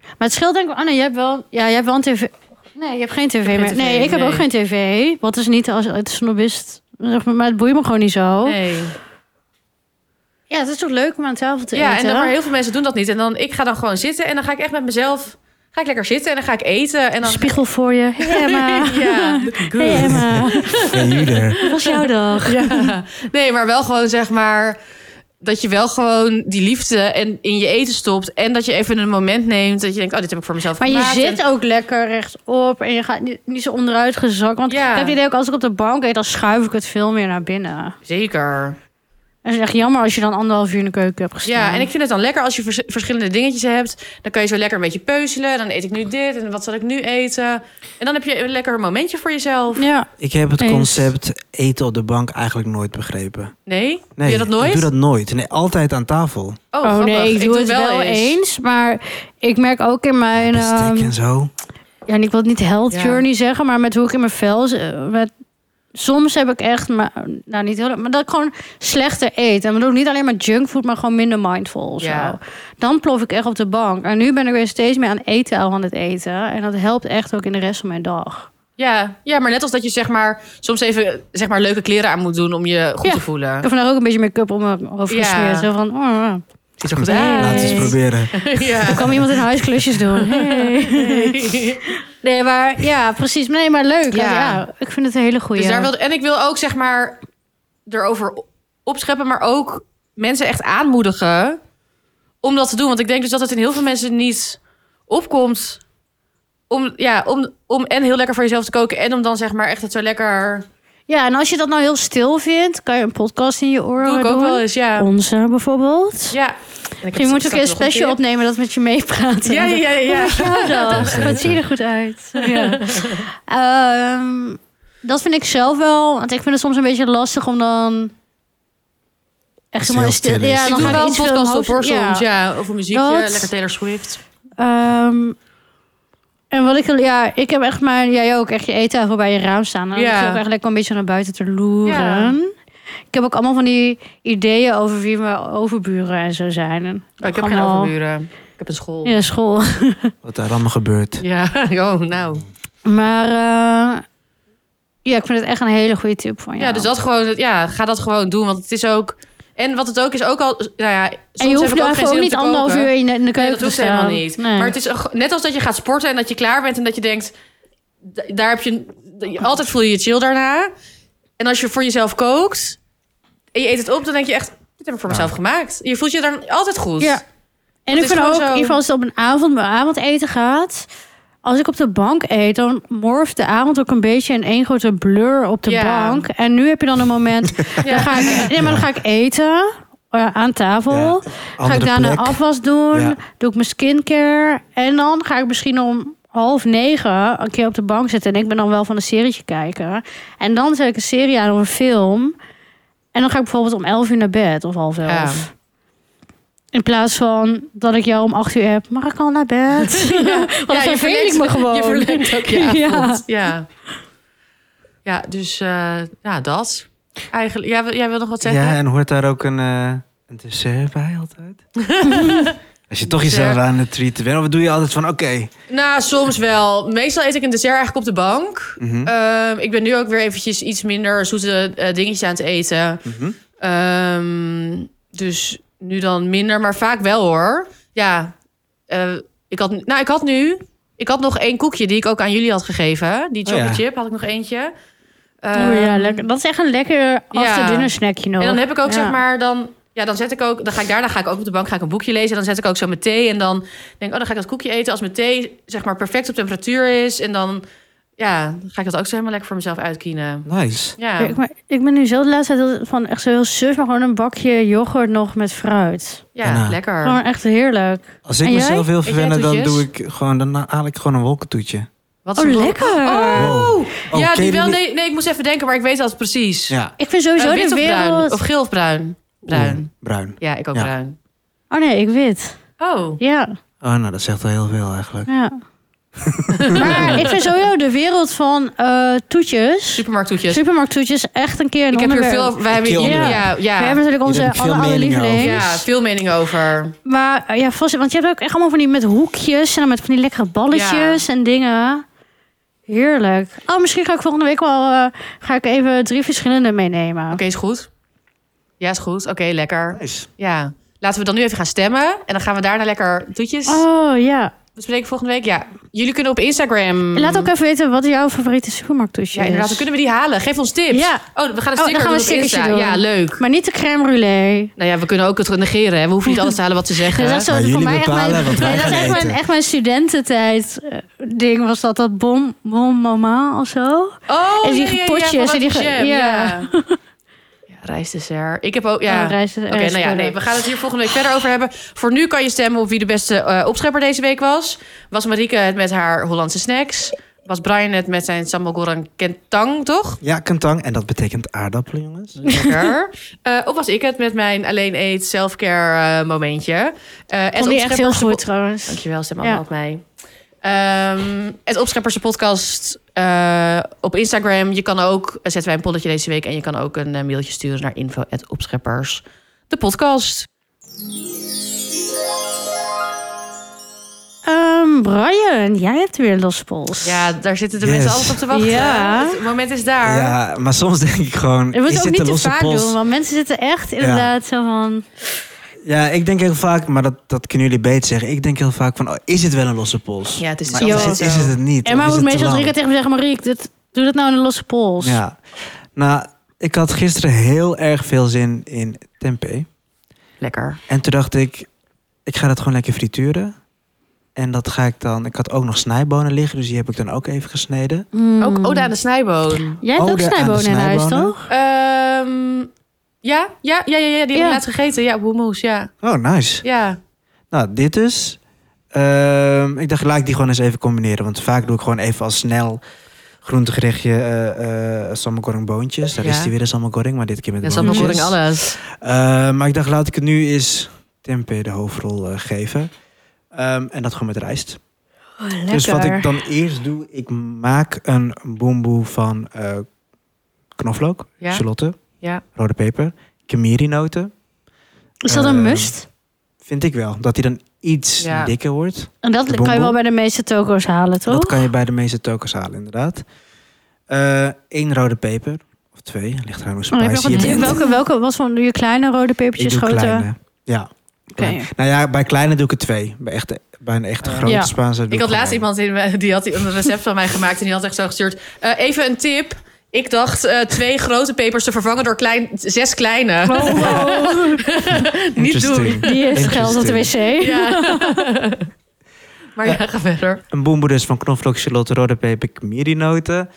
Maar het scheelt denk ik, Anne, je hebt wel, ja, je hebt wel een tv. Nee, je hebt geen tv
geen
meer.
tv,
nee, ik heb
nee.
ook geen tv. Wat is niet als het snobist, zeg maar, maar het boeit me gewoon niet zo.
Nee.
Ja, het is toch leuk om aan tafel te
Ja,
eten.
en dan, maar heel veel mensen doen dat niet. En dan, ik ga dan gewoon zitten en dan ga ik echt met mezelf... ga ik lekker zitten en dan ga ik eten. En dan
Spiegel voor je.
[laughs]
Hey Emma. [laughs]
ja,
Hey Emma.
[laughs]
hey, Juder.
Hoe was jouw dag?
Ja. Nee, maar wel gewoon zeg maar dat je wel gewoon die liefde en in je eten stopt en dat je even een moment neemt dat je denkt, oh, dit heb ik voor mezelf
Maar je
gemaakt.
zit
En-
ook lekker rechtop en je gaat niet, niet zo onderuit gezakt. Want
Ja.
ik heb het idee ook, als ik op de bank eet, dan schuif ik het veel meer naar binnen.
Zeker.
En het is echt jammer als je dan anderhalf uur in de keuken hebt gestaan.
Ja, en ik vind het dan lekker als je vers- verschillende dingetjes hebt. Dan kan je zo lekker een beetje peuzelen. Dan eet ik nu dit en wat zal ik nu eten? En dan heb je een lekker momentje voor jezelf.
Ja,
Ik heb het
Eens.
concept eten op de bank eigenlijk nooit begrepen.
Nee?
Nee,
Doe je dat nooit?
Ik doe dat nooit. Nee, altijd aan tafel.
Oh,
oh,
grappig.
nee, ik doe, het wel, eens. Maar ik merk ook in mijn... ehm,
Bestek en zo.
ja, en ik wil het niet health
Ja.
journey zeggen, maar met hoe ik in mijn vel... z- eh, Met, soms heb ik echt, maar, nou niet heel, maar dat ik gewoon slechter eet. En bedoel niet alleen maar junkfood, maar gewoon minder mindful. of
Ja.
Zo. Dan plof ik echt op de bank. En nu ben ik weer steeds meer aan eten aan het eten. En dat helpt echt ook in de rest van mijn dag.
Ja, ja, maar net als dat je zeg maar, soms even zeg maar, leuke kleren aan moet doen om je goed
Ja.
te
[laughs]
voelen.
Ik heb vandaag ook een beetje make-up om mijn hoofd
Ja.
gesmeerd. Zo van, oh, oh.
Ziet er goed
Hey.
Laten we
uit.
eens
[laughs]
proberen.
er
Ja.
kwam iemand in huis klusjes
[laughs]
doen. Hey. Nee, maar ja, precies. Nee, maar leuk.
Ja.
Ja, ja, ik vind het een hele goede.
Dus daar wilde, en ik wil ook zeg maar erover o- opscheppen, maar ook mensen echt aanmoedigen om dat te doen. Want ik denk dus dat het in heel veel mensen niet opkomt om, ja, om, om en heel lekker voor jezelf te koken en om dan zeg maar echt het zo lekker...
Ja, en als je dat nou heel stil vindt, kan je een podcast in je oren
Doe ik ook
doen.
wel eens, ja.
Onze bijvoorbeeld.
Ja. Je
Je moet ook een special opnemen dat met je meepraat.
Ja, ja, ja. ja.
[laughs] ja. Dat ziet er goed
[laughs]
uit. Ja. Ehm, dat vind ik zelf wel. Want ik vind het soms een beetje lastig om dan... Echt
Als het
helemaal in stil.
heel stil is.
Ja,
Ik
dan
doe
ga
wel een
iets veel
podcast op
hoofd-
hoor soms, ja. Of een muziekje,
Dat-
lekker Taylor Swift.
Ehm, en wat ik ja, ik heb echt mijn, jij ook echt je eettafel bij je raam staan. En dan
Ja.
ja. ik ook echt lekker een beetje naar buiten te loeren.
Ja.
Ik heb ook allemaal van die ideeën over wie mijn overburen en zo zijn. En
Oh, ik heb geen
allemaal
overburen. Ik heb een school.
In de school. [laughs]
Wat daar allemaal gebeurt.
Ja, [laughs] oh, nou.
Maar eh, ja, ik vind het echt een hele goede tip van
Ja,
jou.
dus dat gewoon, ja, ga dat gewoon doen. Want het is ook. En wat het ook is, ook al. Nou ja, soms
en je hoeft
heb ik
nu
ook geen
even
zin
ook
om
niet
te
anderhalf
koken.
uur in de, in de
Nee,
keuken
dat
te
hoeft
staan.
helemaal niet.
Nee.
Maar het is ook- net als dat je gaat sporten en dat je klaar bent en dat je denkt. d- Daar heb je. Altijd voel je je chill daarna. En als je voor jezelf kookt en je eet het op, dan denk je echt. Dit heb ik voor
Ja.
mezelf gemaakt. Je voelt je dan altijd goed.
Ja. En
Dat
ik
is
vind ook,
gewoon
in
zo.
ieder geval als het op een avond bij avondeten gaat... als ik op de bank eet, dan morft de avond ook een beetje... in één grote blur op de
Ja.
bank. En nu heb je dan een
[laughs]
moment...
Ja.
dan ga ik, nee, maar dan ga ik eten eh, aan tafel. ga ik
Andere
daarna
plek.
afwas doen.
Ja.
Doe ik mijn skincare. En dan ga ik misschien om half negen een keer op de bank zitten. En ik ben dan wel van een serietje kijken. En dan zet ik een serie aan of een film. En dan ga ik bijvoorbeeld om elf uur naar bed of half elf.
Ja.
In plaats van dat ik jou om acht uur heb, mag ik al naar
[laughs]
bed? Want dan
Ja,
verveel ik me
verlengt-
gewoon.
[laughs] Je verlengt ook je
[laughs] Ja.
avond. Ja. Ja, dus eh, ja, dat. Eigenlijk, jij, wil- jij wil nog wat zeggen?
Ja, en hoort daar ook een, eh, een dessert bij
[laughs]
altijd? Als je toch jezelf
Dessert.
aan het treaten bent, of doe je altijd van oké.
Nou, soms wel. Meestal eet ik een dessert eigenlijk op de bank.
Mhm,
Ehm, ik ben nu ook weer eventjes iets minder zoete eh, dingetjes aan het eten.
mhm.
Ehm, dus nu dan minder, maar vaak wel hoor. Ja, eh, ik, had, nou, ik had nu... Ik had nog één koekje die ik ook aan jullie had gegeven. Die
Oh ja.
chocolate chip had ik nog eentje.
Oh ja,
Ehm,
lekker. Dat is echt een lekker after-dinner snackje nog.
En dan heb ik ook
Ja.
zeg maar dan. Ja, dan zet ik ook. Dan ga ik daarna ga ik ook op de bank ga ik een boekje lezen. En dan zet ik ook zo mijn thee. En dan denk ik, oh, dan ga ik dat koekje eten. Als mijn thee zeg maar perfect op temperatuur is. En dan ja, dan ga ik dat ook zo helemaal lekker voor mezelf uitkiezen.
Nice.
Ja.
Ja, ik, ben- ik ben nu zo de laatste tijd heel- van echt zo heel suf, maar gewoon een bakje yoghurt nog met fruit.
Ja,
daarna.
lekker.
Gewoon echt heerlijk.
Als ik
En jij?
mezelf wil
jij
verwennen, dan,
toetjes?
doe ik gewoon, dan haal ik gewoon een wolkentoetje.
Wat is
Oh,
er nog?
lekker.
Oh,
Wow. Oh,
ja,
ken je
die wel.
niet?
Nee, nee, ik moest even denken, maar ik weet dat precies.
Ja.
Ik vind
Eh,
sowieso
wit
Oh, de
of bruin?
wereld...
Of geel of bruin? Bruin.
Oeh, bruin.
Ja, ik ook
Ja.
bruin.
Oh nee, ik wit.
Oh.
Ja,
Oh, nou, dat zegt wel heel veel eigenlijk.
ja.
[laughs]
maar ik vind sowieso de wereld van eh toetjes,
Supermarkttoetjes.
supermarkttoetjes, echt een keer een
ik heb hier
onderwerp.
veel over. Wij hebben
Keel
hier,
onder.
ja,
We
ja,
hebben natuurlijk
Hier
onze
heb ik veel
alle, alle
meningen over.
lieveling.
ja, veel mening over.
Maar eh, ja, vast, want je hebt ook echt allemaal van die met hoekjes en dan met van die lekkere balletjes en dingen. Heerlijk. Oh, misschien ga ik volgende week wel eh, ga ik even drie verschillende meenemen.
Oké, is goed. Ja, is goed. Oké, lekker.
Nice.
Ja. Laten we dan nu even gaan stemmen. En dan gaan we daarna lekker toetjes
Oh ja.
bespreken volgende week. Ja, jullie kunnen op Instagram...
Laat ook even weten wat jouw favoriete supermarkttoesje
Mm. Ja,
is.
inderdaad. Dan kunnen we die halen. Geef ons tips.
Ja.
Oh, we gaan een
dan gaan
sticker
we
doen
een
op
stickertje
Insta.
doen.
Ja, leuk.
Maar niet de crème brûlée.
Nou ja, we kunnen ook het negeren. Hè. We hoeven niet
[laughs]
alles te halen wat ze
Dus
zeggen.
dat is zo
Maar
voor
jullie
mij echt
bepalen
mijn,
wat wij
Nee, [laughs] dat is
gaan
echt mijn,
eten.
echt mijn studententijd eh, ding was dat dat bon, bon mama of zo.
Oh,
en die
ja, ja, ja,
potjes
van
en die
dat
ge-
jam,
ja.
Ja.
[laughs]
Ja, rijstdessert. Ik heb ook... Ja.
Oh, rijst-
Oké,
rijst-
nou ja, nee, we gaan het hier volgende week verder over hebben. Voor nu kan je stemmen op wie de beste eh, opschepper deze week was. Was Marieke het met haar Hollandse snacks? Was Brian het met zijn sambal goreng kentang, toch?
Ja, kentang. En dat betekent aardappelen, jongens.
Lekker.
[laughs]
Eh, of was ik het met mijn alleen eet selfcare eh, momentje? Eh, en
Vond die echt
opschepper-
heel goed trouwens.
Dankjewel, stem allemaal
Ja.
op mij. Ehm, het Opscheppers de podcast eh, op Instagram. Je kan ook, eh, zetten wij een polletje deze week. En je kan ook een eh, mailtje sturen naar info opscheppers. De podcast.
Ehm, Brian, jij hebt weer los pols.
Ja, daar zitten de
Yes.
mensen altijd op te wachten.
Ja.
Het moment is daar.
Ja, maar soms denk ik gewoon,
Je moet het
is
ook
dit
niet
een
te
losse
vaak
pols?
doen, want mensen zitten echt inderdaad zo van...
Ja, ik denk heel vaak, maar dat, dat kunnen jullie beter zeggen. Ik denk heel vaak van, oh, is het wel een losse pols?
Ja, het is
maar
dus
is
altijd
het,
zo.
is het het niet?
Emma
Of
moet
is het te
meestal
lang?
drinken tegen me zeggen... Mariek, dit, doe dat nou in een losse pols.
Ja. Nou, ik had gisteren heel erg veel zin in tempeh.
Lekker.
En toen dacht ik, ik ga dat gewoon lekker frituren. En dat ga ik dan... Ik had ook nog snijbonen liggen, dus die heb ik dan ook even gesneden.
Hmm.
Ook oh, Oda aan de snijboon.
Jij hebt
Ode
ook
aan Oh, de
snijbonen in huis,
snijbonen.
toch?
Ehm, ja, ja, ja, ja, ja, die hebben we
Ja.
laatst gegeten. Ja, hummus, ja.
Oh, nice.
Ja,
Nou, dit dus. Ehm, ik dacht, laat ik die gewoon eens even combineren. Want vaak doe ik gewoon even als snel groentegerichtje eh eh sambal boontjes. Daar
Ja.
is die weer, een sambal goreng, maar dit keer met
dat is
allemaal
allemaal
boontjes.
goreng
alles.
Eh, maar ik dacht, laat ik het nu eens tempeh de hoofdrol eh, geven. Ehm, en dat gewoon met rijst.
lekker.
Oh,
Dus wat ik dan eerst doe, ik maak een boemboe van eh, knoflook,
Ja.
shallotten,
Ja.
rode peper, kamiri-noten.
Is dat een
Ehm,
must?
Vind ik wel, dat die dan iets
Ja.
dikker wordt.
En dat
de
kan je
bonbon?
wel bij de meeste toko's halen, toch? Oh,
Dat kan je bij de meeste tokens halen, inderdaad. Eén rode peper, of twee, ligt eraan hoe
Oh, heb je
spicy
nog
je
een tip?
bent.
welke, welke was van je kleine rode
Ik
pepertjes,
doe
grote?
kleine. Ja. [laughs] klein. Nou ja, bij kleine doe ik er twee. Bij, echte, bij een echte
Eh,
grote
ja.
Spaanse doe
Ik had
er
laatst
één.
iemand in, mijn- die had een recept van mij gemaakt en die had echt zo gestuurd. eh, even een tip. Ik dacht eh, twee grote pepers te vervangen door klein, zes kleine.
Oh, wow.
Niet doen.
Interesting.
Die heeft geld op de wc.
Ja.
[laughs]
maar ja, ga verder.
Een boemboe dus van knoflook, shallot, rode peper, kamiri-noten.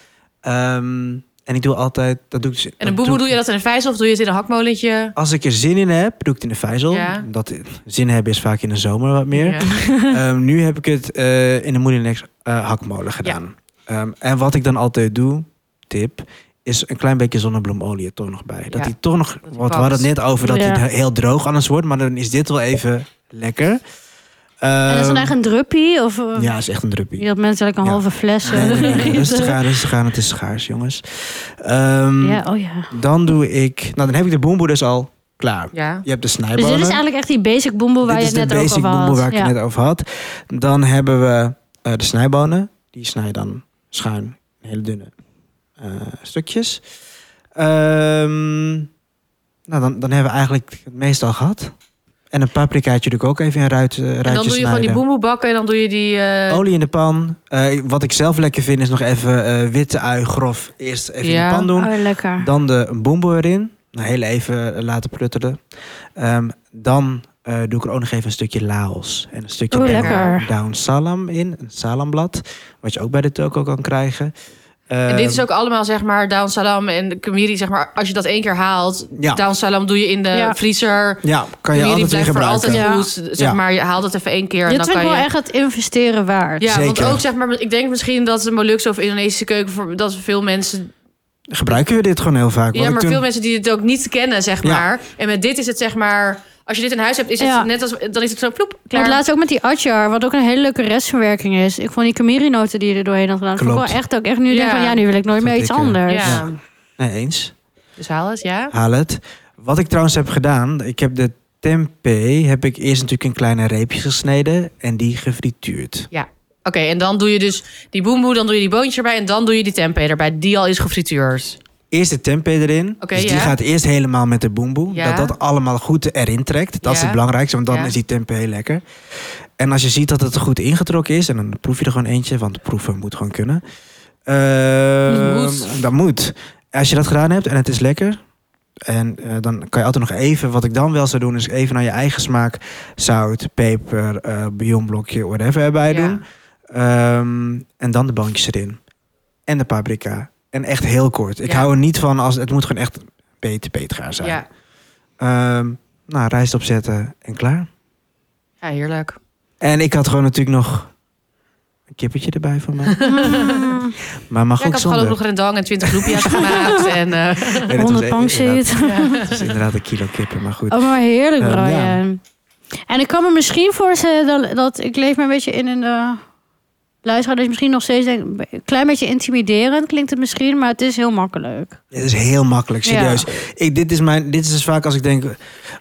Ehm, en ik doe altijd... Dat doe ik dus-
En een
dat
boeboe
doe
doe
ik-
je dat in een vijzel of doe je het in een hakmolentje?
Als ik er zin in heb, doe ik het in de vijzel.
Ja.
Dat zin hebben is vaak in de zomer wat meer.
Ja.
[laughs] Ehm, nu heb ik het eh, in de Moelinex eh hakmolen gedaan. Ehm, en wat ik dan altijd doe, tip, is een klein beetje zonnebloemolie er toch nog bij. Dat
Ja,
die toch nog,
die
want we
past.
hadden het net over dat
Ja.
hij heel droog anders wordt, maar dan is dit wel even lekker.
en dat is dan
Ehm,
echt een druppie? Of, eh,
Ja, is echt een druppie.
Je had mensen like een
Ja.
halve fles. eh,
Nee, nee,
[laughs]
nee,
drinken.
rustig aan, rustig aan, het is schaars, jongens. Ehm,
Ja, oh ja.
Dan doe ik, nou dan heb ik de boemboe dus al klaar.
Ja.
Je hebt de snijbonen.
Dus dit is eigenlijk echt die basic boemboe waar
Dit
je
is
het
de
net
basic
over had.
boemboe waar ik
ja.
het net over had. Dan hebben we eh, de snijbonen. Die snij je dan schuin, in hele dunne eh, stukjes. Ehm, nou, dan, dan hebben we eigenlijk het meestal gehad. En een paprikaatje doe ik ook even in ruit, eh, ruitjes
En dan doe je gewoon die
snijden. Oh,
boemboe bakken en dan doe je die... eh,
Olie in de pan. Eh, wat ik zelf lekker vind is nog even eh, witte ui grof eerst even in
Ja. Ah.
de pan doen.
Oh, lekker.
Dan de boemboe erin. Nou, heel even eh, laten pruttelen. Ehm, dan eh, doe ik er ook nog even een stukje Laos. En een stukje
Oeh,
down-
lekker.
down salam in. Een salamblad. Wat je ook bij de toko kan krijgen.
en dit is
Ehm,
ook allemaal zeg maar down salam en de kamiri zeg maar. Als je dat één keer haalt,
Ja,
down salam doe je in de
Ja.
vriezer.
ja kan je
Kamiri
altijd weer
blijft voor
gebruiken.
altijd
Ja.
goed. Zeg
Ja.
maar, je haalt het even één keer en
Dit
dan
vind ik
kan
wel
je...
echt het investeren waard.
Ja,
Zeker.
want ook zeg maar, ik denk misschien dat de Molukse of Indonesische keuken, voor, dat veel mensen,
Gebruiken we dit gewoon heel vaak. want
ja,
ik
maar
toen-
veel mensen die het ook niet kennen, zeg
Ja.
maar. En met dit is het zeg maar, als je dit in huis hebt, is het
Ja.
net als, dan is het zo ploep,
Ik had
klaar.
laatst ook met die atjar, wat ook een hele leuke restverwerking is. Ik vond die kamiri-noten die je er doorheen had gedaan, vond ik
Klopt.
wel echt ook echt nu
Ja.
denk van ja, nu wil ik nooit
Dat
meer iets
ik, eh,
anders.
ja.
[laughs]
Ja. Nee, eens.
Dus haal het, ja.
Haal het. Wat ik trouwens heb gedaan, ik heb de tempeh heb ik eerst natuurlijk in kleine reepjes gesneden en die gefrituurd.
Oké, en dan doe je dus die boemboe, dan doe je die boontjes erbij en dan doe je die tempeh erbij, die al is gefrituurd.
Eerst de tempeh erin.
Oké,
dus die
ja.
gaat eerst helemaal met de boemboe.
Ja.
Dat dat allemaal goed erin trekt. Dat is
Ja.
het belangrijkste, want dan
Ja.
is die tempeh heel lekker. En als je ziet dat het er goed ingetrokken is, en dan proef je er gewoon eentje, want proeven moet gewoon kunnen. Eh,
Moet.
Dat moet. Als je dat gedaan hebt en het is lekker, en eh, dan kan je altijd nog even, wat ik dan wel zou doen, is even naar je eigen smaak zout, peper, eh bouillonblokje, whatever erbij
Ja.
doen. Ehm, en dan de boontjes erin. En de paprika. En echt heel kort. Ik
Ja.
hou er niet van als het moet gewoon echt beter, beter gaan zijn.
Ja.
Ehm, nou, rijst opzetten en klaar.
ja, heerlijk.
En ik had gewoon natuurlijk nog een kippetje erbij
[laughs]
van mij. maar mag
Ja, ik
ook
had gewoon
zonder.
ook nog rendang en 20 loepia's gemaakt. En, eh,
[laughs] Nee, dat was
100
e-
pang
inderdaad-
zit.
Het is inderdaad een kilo kippen, maar
[laughs]
goed.
Oh, maar heerlijk,
Eh,
Brian.
ja.
En ik kan me misschien voorstellen dat, dat ik leef me een beetje in een eh, luisteraar dus misschien nog steeds denkt... een klein beetje intimiderend klinkt het misschien, maar het is heel makkelijk.
Dit is heel makkelijk, serieus. Ik, dit, is mijn, dit is dus vaak als ik denk,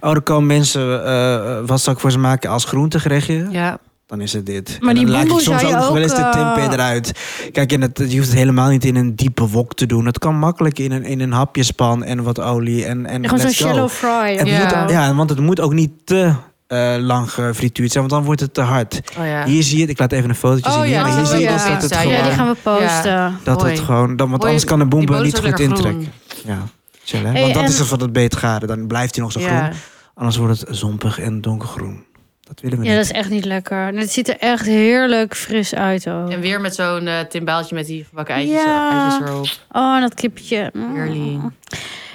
oh, er komen mensen, eh, eh, wat zal ik voor ze maken als groentegerechtje?
Ja.
Dan is het dit.
Maar
En
die
dan laat ik
boemboe
soms
zou
ook
je
nog wel eens de
ook, eh,
tempeh eruit. Kijk, en het, je hoeft het helemaal niet in een diepe wok te doen. Het kan makkelijk in een, in een hapjespan en wat olie en, en
Gewoon zo'n
let's go.
shallow fry.
Het
of
Ja.
zo.
moet, ja, want het moet ook niet te eh, lang gefrituurd zijn, want dan wordt het te hard.
Oh ja.
Hier zie je het, ik laat even een fotootje
Oh
zien.
ja,
maar
dat
hier
is
zie je
wel
dus
een
dat het
pizza,
gewoon...
Ja, die gaan we
Ja.
posten.
Dat
Mooi.
het gewoon, dan, want
Hoor je-
anders kan de
Die
boemboe
bodem is
niet
ook
goed
lekker groen.
intrekken. Ja, chillen.
Hey,
Want dat
en-
is dus wat het beet garen. Dan blijft hij nog zo
Ja.
groen. Anders wordt het zompig en donkergroen. Dat willen we
Ja, dat
niet.
is echt niet lekker. En het ziet er echt heerlijk fris uit ook.
En weer met zo'n eh timbaaltje met die gebakken eitjes,
Ja.
eitjes erop.
Oh, dat kipje. Mm.
Heerlijk.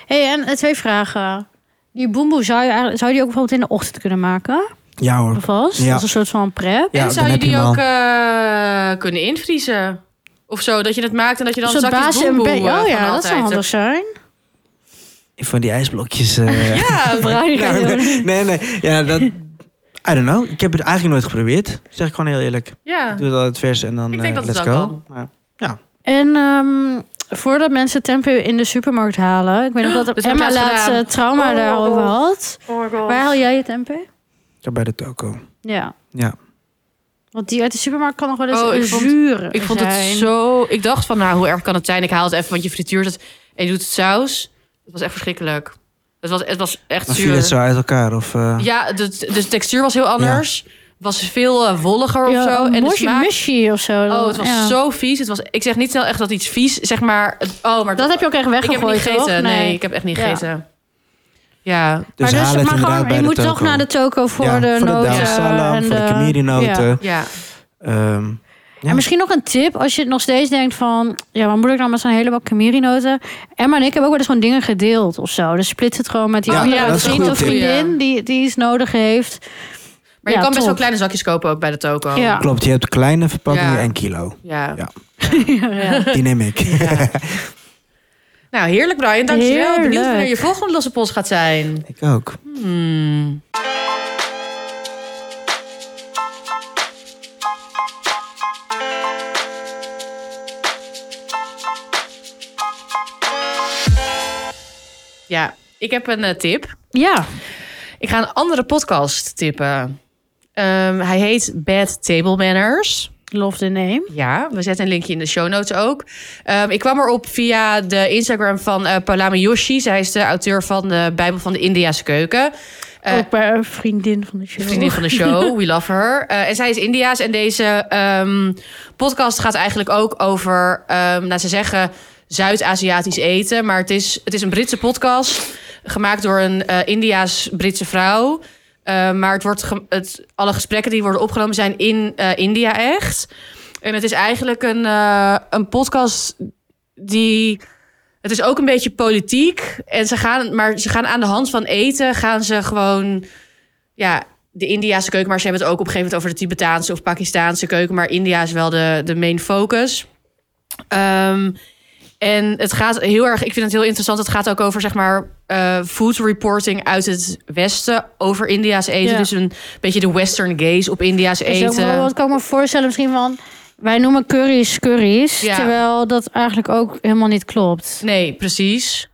hey, en eh, twee vragen. Die boemboe, zou je, eigenlijk- zou je die ook bijvoorbeeld in de ochtend kunnen maken?
Ja hoor.
Alvast?
Ja.
Als een soort van prep?
Ja,
en
dan
zou je
heb je
die
hem
ook eh, kunnen invriezen? Of zo, dat je het maakt en dat je dan
Een soort
zakjes
basis
boemboe
en
eh,
be- Oh
van
ja, dat zou
altijd
handig zijn.
Van die ijsblokjes. eh, [laughs]
[laughs]
hebt. [laughs] Ja,
Bruin
nou, nee, nee, nee. Ja, dat... I don't know. Ik heb het eigenlijk nooit geprobeerd. Zeg ik gewoon heel eerlijk.
ja.
Ik doe dat het vers en dan
Ik denk
eh,
dat het
let's
wel
go.
kan.
Ja.
En ehm, voordat mensen tempeh in de supermarkt halen... Ik weet
[gasps]
nog dat
Dat heb ik
Emma
laatst
laatst
gedaan.
eh, trauma
Oh.
daarover had. Waar haal jij je tempeh?
Ja, bij de toko.
Ja.
Ja.
Want die uit de supermarkt kan nog wel eens
Oh, ik vond-
zuur
Ik vond het
zijn.
zo... Ik dacht van, nou, hoe erg kan het zijn? Ik haal het even, want je frituurt het en je doet het saus. Het was echt verschrikkelijk. Het was, het was echt
Dan viel het
zuur.
zo uit elkaar. Of, eh,
Ja, de, de textuur was heel anders. was veel eh, wolliger
Ja,
of zo. En de
mushy,
smaak...
mushy of zo.
Oh, het was
Ja.
zo vies. Het was, ik zeg niet snel echt dat iets vies, zeg maar... het- oh, maar
Dat heb je ook echt
ik heb
weggegooid,
niet gegeten.
toch?
Nee. ik heb echt niet
Ja.
gegeten. Ja,
Dus
maar
haal het
maar
inderdaad
gewoon,
bij
je
de
moet
toko.
toch naar de toko voor
Ja,
de
voor
noten.
de salam,
en
voor de kamiri-noten.
Ja.
ja.
Ehm, Ja.
En misschien nog een tip, als je het nog steeds denkt van... ja, wat moet ik nou met zo'n heleboel kamiri-noten? Emma en ik hebben ook wel eens gewoon dingen gedeeld of zo. Dus split het gewoon met die
Ja,
andere
dat is een
vriend of
goede tip.
vriendin... Die, die iets nodig heeft.
Maar
Ja,
je kan best wel
top.
kleine zakjes kopen ook bij de toko.
Ja.
Klopt, je hebt kleine verpakkingen
Ja.
en kilo.
Ja.
Ja.
Ja.
Die neem ik.
Ja. Nou, heerlijk Brian, dankjewel. Benieuwd
Heerlijk.
wanneer je volgende losse pols gaat zijn.
[laughs] ik ook.
Hmm. Ja, ik heb een eh, tip.
ja.
Ik ga een andere podcast tippen. Ehm, hij heet Bad Table Manners.
Love the name.
Ja, we zetten een linkje in de show notes ook. Ehm, ik kwam erop via de Instagram van eh Palama Yoshi. Zij is de auteur van de Bijbel van de Indiase Keuken. Eh,
ook bij een vriendin van de show.
Vriendin van de show, we love her. Eh, en zij is Indiaas en deze ehm, podcast gaat eigenlijk ook over, ehm nou ze zeggen, Zuid-Aziatisch eten. Maar het is, het is een Britse podcast gemaakt door een eh, Indiaas-Britse vrouw. Eh, maar het wordt ge- het, alle gesprekken die worden opgenomen zijn in eh, India echt. En het is eigenlijk een, eh, een podcast die... Het is ook een beetje politiek. En ze gaan, maar ze gaan aan de hand van eten, gaan ze gewoon ja, de Indiaanse keuken. Maar ze hebben het ook op een gegeven moment over de Tibetaanse of Pakistaanse keuken. Maar India is wel de, de main focus. Ehm, en het gaat heel erg, ik vind het heel interessant. Het gaat ook over, zeg maar, eh, food reporting uit het Westen over India's eten.
Ja.
Dus een beetje de Western gaze op India's
Is ook
eten.
wel wat kan ik me voorstellen misschien van... Wij noemen curry's curry's,
Ja.
terwijl dat eigenlijk ook helemaal niet klopt.
Nee, precies.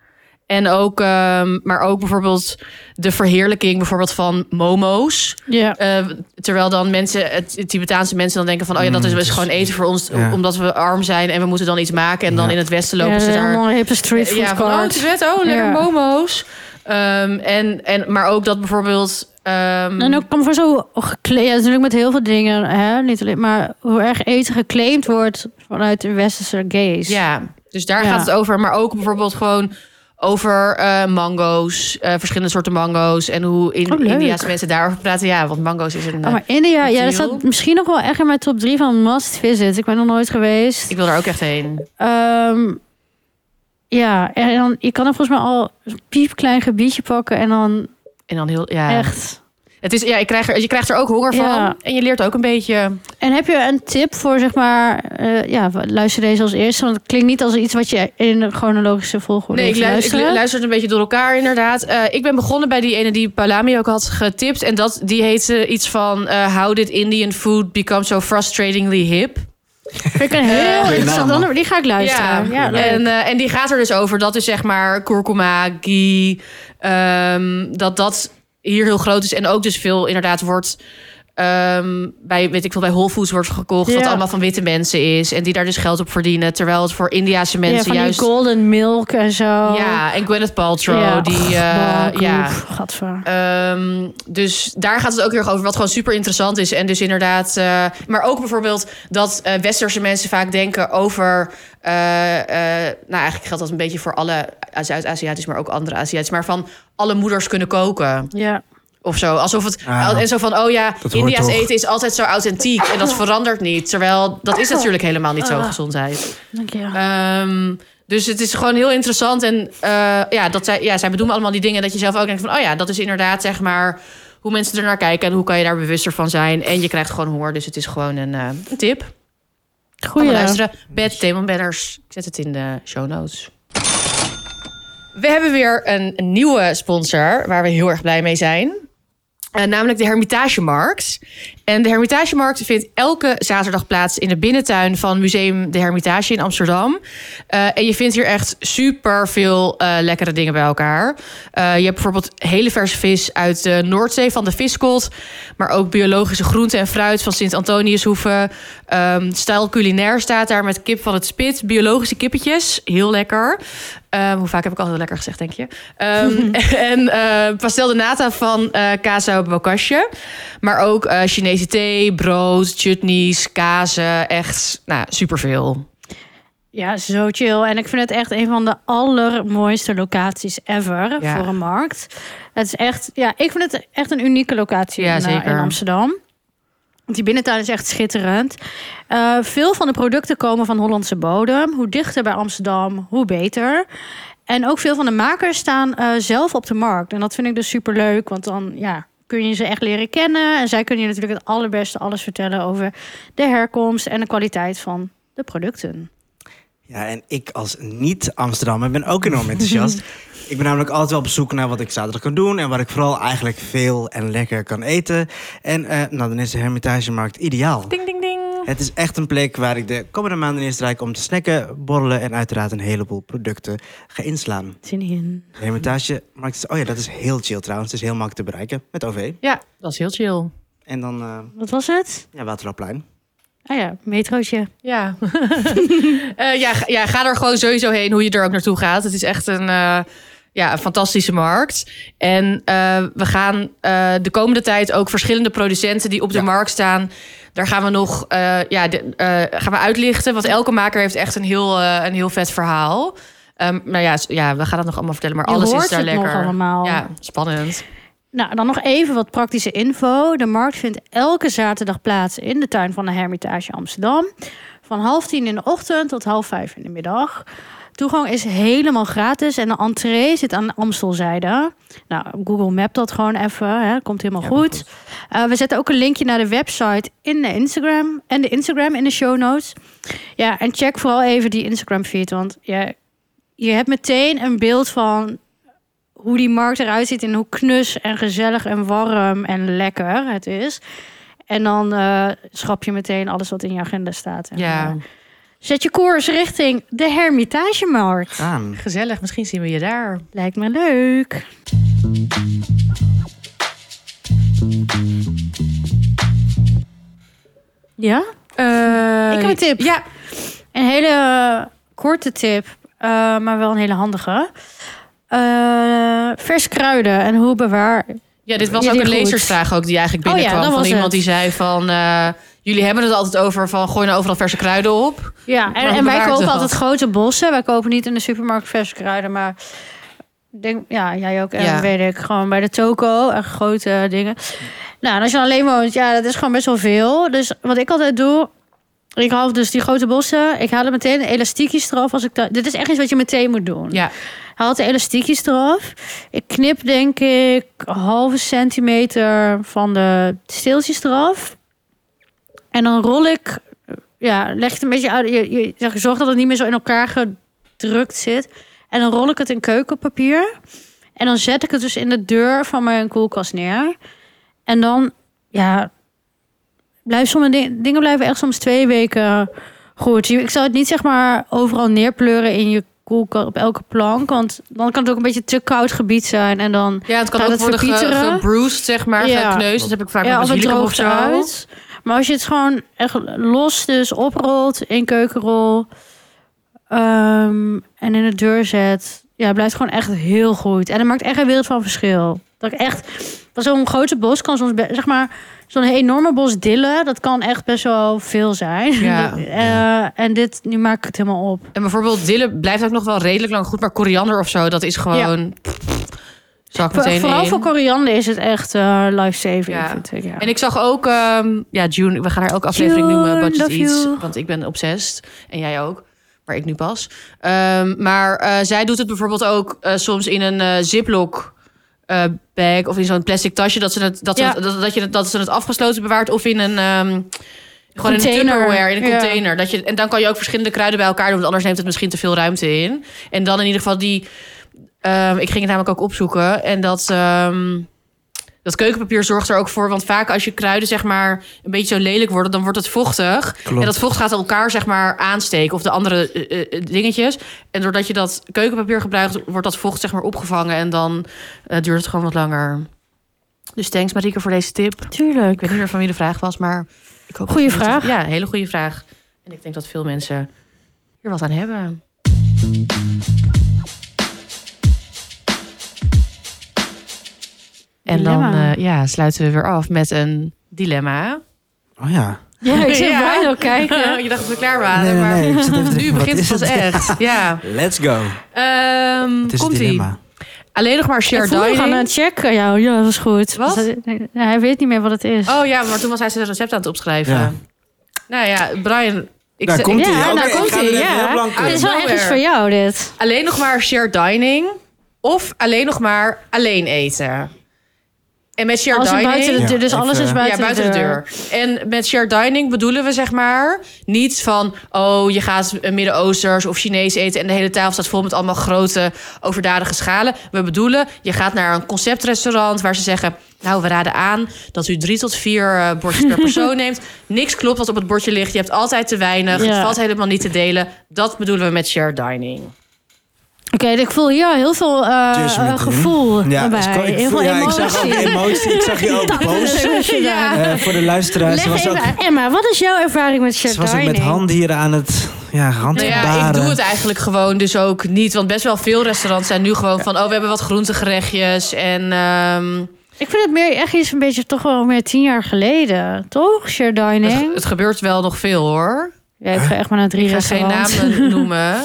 En ook, ehm, maar ook bijvoorbeeld de verheerlijking bijvoorbeeld van momo's.
Ja.
Eh, terwijl dan mensen, het het Tibetaanse mensen dan denken van... oh ja, dat is,
Mm,
dus gewoon eten voor ons,
ja.
omdat we arm zijn... en we moeten dan iets maken. En dan
Ja.
in het westen lopen ze daar...
helemaal hippe street food
Ja, van, oh,
court.
Tibet, oh, lekker
Ja.
momo's. Ehm, en, en, maar ook dat bijvoorbeeld... ehm,
En ook kan voor zo geclaimd, ja, natuurlijk met heel veel dingen, hè, niet alleen, maar hoe erg eten geclaimd wordt vanuit de westerse gaze.
Ja, dus daar
Ja.
gaat het over. Maar ook bijvoorbeeld gewoon over eh, mango's. eh, verschillende soorten mango's. En hoe in,
Oh, leuk.
India's mensen daarover praten. Ja, want mango's is een...
Oh,
eh,
maar India, ja, dat
Deal.
staat misschien nog wel echt in mijn top 3 van must visit. Ik ben nog nooit geweest.
Ik wil daar ook echt heen.
Ehm, ja, en dan, je kan er volgens mij al een piepklein gebiedje pakken en dan
En dan heel... Ja.
echt
Het is, ja, ik krijg er, je krijgt er ook honger van.
Ja.
En je leert ook een beetje...
En heb je een tip voor, zeg maar, eh, ja, luister deze als eerste, want het klinkt niet als iets wat je in een chronologische volgorde
Nee, ik,
hoeft te
luister, ik
luisteren.
luister het een beetje door elkaar inderdaad. Eh, ik ben begonnen bij die ene die Palami ook had getipt. En dat, die heette iets van... eh, How did Indian food become so frustratingly hip?
Vind ik een heel
Goeie
interessant
naam.
ander. Die ga ik luisteren. Ja,
Ja,
leuk.
En, eh, en die gaat er dus over dat dus zeg maar kurkuma, ghee, ehm, dat dat hier heel groot is. En ook dus veel inderdaad wordt ehm, bij, weet ik veel, bij Whole Foods wordt gekocht.
Ja.
Wat allemaal van witte mensen is. En die daar dus geld op verdienen. Terwijl het voor Indiase
Ja,
mensen
van
juist...
die golden milk en zo.
Ja, en Gwyneth Paltrow. Die, eh, ja.
Gadver.
Ehm, dus daar gaat het ook heel erg over, wat gewoon super interessant is. En dus inderdaad, eh, maar ook bijvoorbeeld dat eh, westerse mensen vaak denken over. eh, eh, nou, eigenlijk geldt dat een beetje voor alle Zuid-Aziatisch, maar ook andere Aziatisch. Maar van alle moeders kunnen koken
Ja.
of zo. Alsof het.
Ah,
al- en zo van, oh ja,
hoort
India's
toch.
eten is altijd zo authentiek en dat verandert niet. Terwijl dat is natuurlijk helemaal niet zo,
Ah.
gezondheid.
Dank je.
Ehm, dus het is gewoon heel interessant. En eh, ja, dat zij, ja, zij bedoelen allemaal die dingen dat je zelf ook denkt van... oh ja, dat is inderdaad zeg maar hoe mensen er naar kijken... en hoe kan je daar bewuster van zijn. En je krijgt gewoon honger, dus het is gewoon een eh, een tip. Goed
Goeie.
luisteren. Bad Demon Banners. Ik zet het in de show notes. We hebben weer een nieuwe sponsor waar we heel erg blij mee zijn. Eh, namelijk de Hermitagemarkt. En de Hermitagemarkt vindt elke zaterdag plaats in de binnentuin van Museum de Hermitage in Amsterdam. Eh, en je vindt hier echt super veel lekkere dingen bij elkaar. Eh, je hebt bijvoorbeeld hele verse vis uit de Noordzee van de viskot. Maar ook biologische groenten en fruit van Sint-Antoniushoeven. Ehm stijl culinair staat daar met kip van het spit. Biologische kippetjes. Heel lekker. Ehm, hoe vaak heb ik al heel lekker gezegd, denk je? Ehm, en eh pastel de nata van eh Casa Bocasje. Maar ook eh, Chinese thee, brood, chutneys, kazen. Echt nou, superveel.
Ja, zo chill. En ik vind het echt een van de allermooiste locaties ever
Ja.
voor een markt. Het is echt, ja, ik vind het echt een unieke locatie
Ja,
in, eh,
zeker.
in Amsterdam. Want die binnentuin is echt schitterend. Eh, veel van de producten komen van Hollandse bodem. Hoe dichter bij Amsterdam, hoe beter. En ook veel van de makers staan eh, zelf op de markt. En dat vind ik dus super leuk, want dan ja, kun je ze echt leren kennen. En zij kunnen je natuurlijk het allerbeste alles vertellen over de herkomst en de kwaliteit van de producten.
Ja, en ik als niet-Amsterdammer ben ook enorm enthousiast.
[laughs]
ik ben namelijk altijd wel op zoek naar wat ik zaterdag kan doen... en waar ik vooral eigenlijk veel en lekker kan eten. En eh, nou, dan is de Hermitagemarkt ideaal.
Ding, ding, ding.
Het is echt een plek waar ik de komende maanden in strijk om te snacken, borrelen... en uiteraard een heleboel producten ga inslaan.
Zin in.
De Hermitagemarkt is... Oh ja, dat is heel chill trouwens. Het is heel makkelijk te bereiken met OV.
Ja, dat is heel chill.
En dan eh
Wat was het?
ja, Waterloopplein.
Ah ja, metrootje.
Ja. [laughs] Eh, ja, ga- ja, ga er gewoon sowieso heen, hoe je er ook naartoe gaat. Het is echt een, eh, ja, een fantastische markt. En eh, we gaan eh, de komende tijd ook verschillende producenten die op de
Ja.
markt staan. Daar gaan we nog eh, ja, de- eh, gaan we uitlichten. Want elke maker heeft echt een heel, eh, een heel vet verhaal. Ehm nou ja, s- ja, we gaan dat nog allemaal vertellen. Maar
Je
alles is
hoort
daar
het
lekker.
nog allemaal.
Ja, spannend.
Nou, dan nog even wat praktische info. De markt vindt elke zaterdag plaats in de tuin van de Hermitage Amsterdam. Van half tien in de ochtend tot half vijf in de middag. Toegang is helemaal gratis en de entree zit aan de Amstelzijde. Nou, Google Map dat gewoon even, hè. komt helemaal goed. Eh, we zetten ook een linkje naar de website in de Instagram en de Instagram in de show notes. Ja, en check vooral even die Instagram feed, want ja, je hebt meteen een beeld van hoe die markt eruit ziet en hoe knus en gezellig en warm en lekker het is. En dan eh, schrap je meteen alles wat in je agenda staat. En,
Ja,
eh, zet je koers richting de Hermitagemarkt.
Gaan.
gezellig. Misschien zien we je daar.
Lijkt me leuk. Ja? Ik heb een tip.
Eh, Ja,
Een hele eh, korte tip, eh, maar wel een hele handige. Eh, vers kruiden en hoe bewaar...
Ja, dit was
Ja,
ook
die
een
goed.
lezersvraag ook die eigenlijk
Oh ja,
binnenkwam
dat
van
was het.
iemand die zei van... eh, jullie hebben het altijd over van gooi nou overal verse kruiden op.
Ja, en,
hoe
en wij
bewaar je
kopen
dat?
altijd grote bossen. Wij kopen niet in de supermarkt verse kruiden, maar... ik Denk, ja, jij ook, en
Ja.
weet ik. Gewoon bij de toko, echt grote dingen. Nou, en als je dan alleen woont, ja, dat is gewoon best wel veel. Dus wat ik altijd doe... Ik haal dus die grote bossen. Ik haal er meteen elastiekjes eraf. Als ik dat, dit is echt iets wat je meteen moet doen.
Ja,
haalt de elastiekjes eraf. Ik knip denk ik een halve centimeter van de steeltjes eraf. En dan rol ik, ja, leg het een beetje uit. Je, je, zeg, zorg dat het niet meer zo in elkaar gedrukt zit. En dan rol ik het in keukenpapier. En dan zet ik het dus in de deur van mijn koelkast neer. En dan, ja, blijf sommige ding- dingen blijven echt soms twee weken goed. Je- Ik zou het niet zeg maar overal neerpleuren in je koelkast op elke plank. Want dan kan het ook een beetje te koud gebied zijn. En dan
Ja, het kan
Gaat
ook
het
worden ge-
verpieteren?
gebruised, zeg maar,
Ja.
gekneusd. Dat heb ik vaak
ja,
met
of het
basilicum of
droogt
zo.
uit. Maar als je het gewoon echt los dus oprolt in keukenrol ehm, en in de deur zet, ja, het blijft gewoon echt heel goed. En het maakt echt een wereld van verschil. Dat ik echt, want zo'n grote bos kan soms, be- zeg maar, zo'n enorme bos dillen, dat kan echt best wel veel zijn.
Ja.
[laughs] Eh, en dit, nu maak ik het helemaal op.
En bijvoorbeeld dillen blijft ook nog wel redelijk lang goed. Maar koriander of zo, dat is gewoon... Zak
Voor-
meteen
vooral
in.
voor koriander is het echt eh life-saving,
Ja.
vind ik. Ja.
En ik zag ook, ehm, ja, June, we gaan haar elke aflevering
June,
noemen, Budget
love
Eats.
you.
Want ik ben obsessed. En jij ook. Maar ik nu pas. Ehm, maar eh, zij doet het bijvoorbeeld ook eh, soms in een eh, ziploc eh, bag of in zo'n plastic tasje. Dat ze het, dat ze
Ja.
het- dat, dat je het, dat ze het afgesloten bewaart. Of in een. ehm, gewoon in een
Container.
Tupperware, in een
Ja.
container. Dat je, en dan kan je ook verschillende kruiden bij elkaar doen. Want anders neemt het misschien te veel ruimte in. En dan in ieder geval die... ehm, ik ging het namelijk ook opzoeken. En dat... ehm, dat keukenpapier zorgt er ook voor. Want vaak als je kruiden zeg maar een beetje zo lelijk worden, dan wordt het vochtig.
Klopt.
En dat vocht gaat elkaar zeg maar aansteken. Of de andere eh, eh, dingetjes. En doordat je dat keukenpapier gebruikt, wordt dat vocht zeg maar opgevangen. En dan eh, duurt het gewoon wat langer. Dus thanks Marieke voor deze tip. Ik
Tuurlijk.
weet niet meer van wie de vraag was, maar... Ik hoop
Goeie
dat mensen-
vraag.
Ja, een hele goede vraag. En ik denk dat veel mensen hier wat aan hebben. En dan
Dilemma.
eh, ja, sluiten we weer af met een dilemma.
Oh ja.
Ja, ik zit
[laughs] Ja.
bijna al kijken.
[laughs] Je dacht dat we klaar waren,
nee, nee,
Ah, maar [laughs]
nee. Ik zit even te denken,
nu
wat
begint
is
het pas
[laughs]
echt. Ja.
Let's go.
Ehm,
Het is een
Komt-ie.
dilemma.
Alleen nog maar share
ik voel me
dining.
gaan aan het checken. Ja, ja, dat is goed.
Wat?
Dus hij- hij weet niet meer wat het is.
Oh ja, maar toen was hij zijn recept aan het opschrijven.
Ja.
Nou ja, Brian... Ik
Daar
ze-
komt hij.
ja, daar
ik
komt
ga
ie,
er even
ja.
heel blank
het
in.
is wel echt iets voor jou, dit.
Alleen nog maar shared dining of alleen nog maar alleen eten. En met shared
Alles is
dining.
buiten de
Ja,
deur, dus alles
even-
is buiten,
ja, buiten de deur. En met shared dining bedoelen we zeg maar niet van... oh, je gaat eh, Midden-Oosters of Chinees eten... en de hele tafel staat vol met allemaal grote overdadige schalen. We bedoelen, je gaat naar een conceptrestaurant waar ze zeggen... nou, we raden aan dat u drie tot vier eh, bordjes
[laughs]
per persoon neemt. Niks klopt wat op het bordje ligt. Je hebt altijd te weinig.
Ja.
Het valt helemaal niet te delen. Dat bedoelen we met shared dining.
Oké, dus ik voel hier al heel veel eh,
Judgment
eh, gevoel
Ja,
erbij.
dus ik- ik,
heel
voel-
veel
ja, ik
emotie. [laughs]
zag ook emotie. Ik zag je ook
Dat
boos.
is ook wat je
Ja.
daar-
Eh, voor de luisteraars. ze
Leg
was
even
ook,
aan. Emma, wat is jouw ervaring met shared
ze was ook
dining?
met handen hier aan het ja, hand
Nou
te
ja, ik
baren.
doe het eigenlijk gewoon dus ook niet. Want best wel veel restaurants zijn nu gewoon van... oh, we hebben wat groentegerechtjes en... ehm,
Ik vind het meer echt iets een beetje toch wel meer tien jaar geleden. Toch, shared
het,
dining?
ge- het gebeurt wel nog veel, hoor.
Ja, ik ga echt maar naar drie
Ik ga geen
restaurants. [laughs]
namen noemen.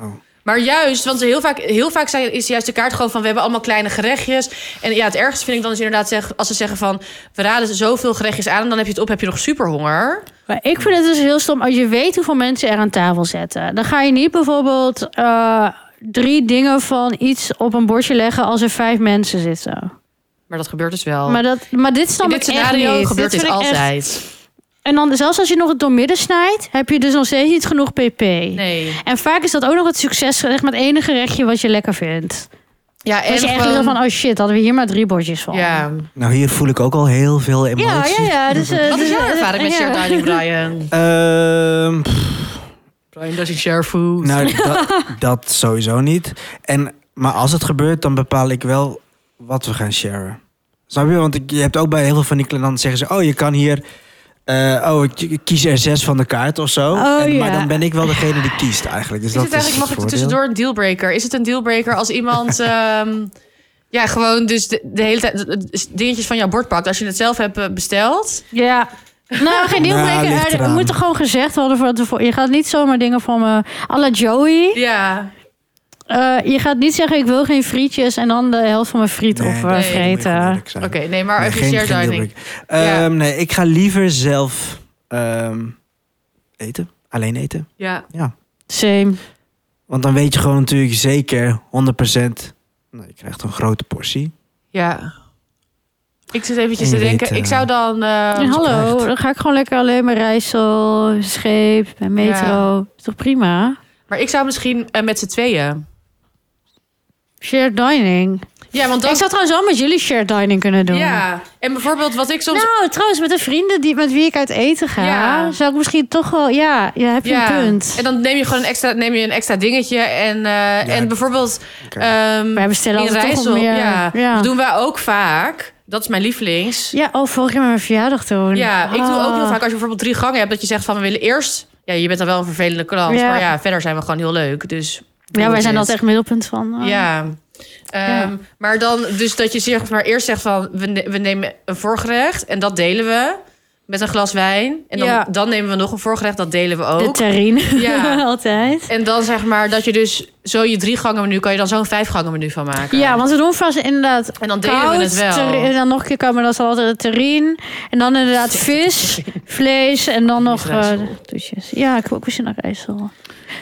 Oh.
Maar juist, want heel vaak, heel vaak zijn, is juist de kaart gewoon van... we hebben allemaal kleine gerechtjes. En ja, het ergste vind ik dan is inderdaad zeg, als ze zeggen van... we raden zoveel gerechtjes aan en dan heb je het op, heb je nog superhonger.
Maar ik vind het dus heel stom als je weet hoeveel mensen er aan tafel zetten. Dan ga je niet bijvoorbeeld eh, drie dingen van iets op een bordje leggen als er vijf mensen zitten.
Maar dat gebeurt dus wel.
Maar, dat, maar dit
In
snap
dit
ik echt
scenario
niet.
gebeurt dit,
vind ik echt-
altijd.
En dan zelfs als je nog het doormidden snijdt, heb je dus nog steeds niet genoeg pp.
Nee.
En vaak is dat ook nog het succesgerecht met het enige gerechtje wat je lekker vindt.
Ja, en
Dat je echt denkt van, oh shit, hadden we hier maar drie bordjes van.
ja.
Nou, hier voel ik ook al heel veel emotie.
ja, ja. ja, dus, eh,
Wat is
dus,
jouw
eh,
ervaring met
[laughs] ja.
shared dining, Brian?
Ehm, pff,
Brian doesn't share food.
nou,
[laughs]
dat, dat sowieso niet. En, maar als het gebeurt, dan bepaal ik wel wat we gaan sharen. Snap je? Want ik, je hebt ook bij heel veel van die klanten dan zeggen ze... oh, je kan hier... eh, oh, ik- ik kies er zes van de kaart of zo.
Oh,
en, Maar
ja.
dan ben ik wel degene die kiest eigenlijk. Dus
Is
dat
het eigenlijk, mag ik er
voordeel.
tussendoor een dealbreaker? Is het een dealbreaker als
[laughs]
iemand... ehm, ja, gewoon dus de, de hele tijd de- de- dingetjes van jouw bord pakt. Als je het zelf hebt eh, besteld.
Ja. Nou, geen dealbreaker.
Nou, ligt
Eh, we
eraan.
moeten gewoon gezegd worden van tevoren. Je gaat niet zomaar dingen van me... à la Joey.
Ja.
Eh, je gaat niet zeggen, ik wil geen frietjes... en dan de helft van mijn friet
Nee,
op
nee,
eh,
moet je
vreten.
gewoon eerlijk zijn.
Oké, nee, maar
Nee,
even shared dining.
dealbreaker. Ehm, Nee, ik ga liever zelf ehm, eten. Alleen eten.
Ja.
Same.
Oh,
Want dan weet je gewoon natuurlijk zeker 100%. Nou, je krijgt een grote portie.
Ja. Ik zit eventjes
En
te
je
denken.
weet, eh,
ik zou dan...
En
eh,
hallo,
krijgt.
dan ga ik gewoon lekker alleen maar rijsel, scheep en metro. Is toch prima?
maar ik zou misschien eh, met z'n tweeën.
Shared dining.
Ja, want
Ik
dat...
zou trouwens wel met jullie shared dining kunnen doen.
Ja, en bijvoorbeeld wat ik soms...
Nou, trouwens, met de vrienden die, met wie ik uit eten ga,
Ja.
zou ik misschien toch wel. Ja, ja heb je een Nou, punt.
En dan neem je gewoon een extra, neem je een extra dingetje. En, eh, en bijvoorbeeld
Oké.
ehm,
Wij bestellen
in
altijd toch
Rijssel,
wel meer.
ja,
Ja.
dat doen wij ook vaak. Dat is mijn lievelings.
Ja, oh, vorig jaar met mijn verjaardag toen.
Ja, ik doe
Ah.
ook heel vaak als je bijvoorbeeld drie gangen hebt... dat je zegt van we willen eerst... Ja, je bent dan wel een vervelende klant,
Ja.
maar ja, verder zijn we gewoon heel leuk. Dus
Ja, wij zijn
altijd.
altijd echt middelpunt van. ah.
Ja. Ehm,
Ja.
Maar dan dus dat je zeg maar eerst zegt van... We, ne- we nemen een voorgerecht en dat delen we met een glas wijn. En dan,
Ja.
dan nemen we nog een voorgerecht, dat delen we
De
ook.
terrine. [laughs]
Ja.
altijd.
en dan zeg maar dat je dus zo je drie gangen menu... kan je dan zo'n vijf gangen menu van maken.
Ja, want we doen vast inderdaad
En dan delen
koud.
we het wel.
terri- en dan nog een keer komen, dan is altijd het terrine. En dan inderdaad vis, vlees en dan nog
Rijssel.
eh toetjes. Ja, ik wil ook eens naar Rijssel.
Oké,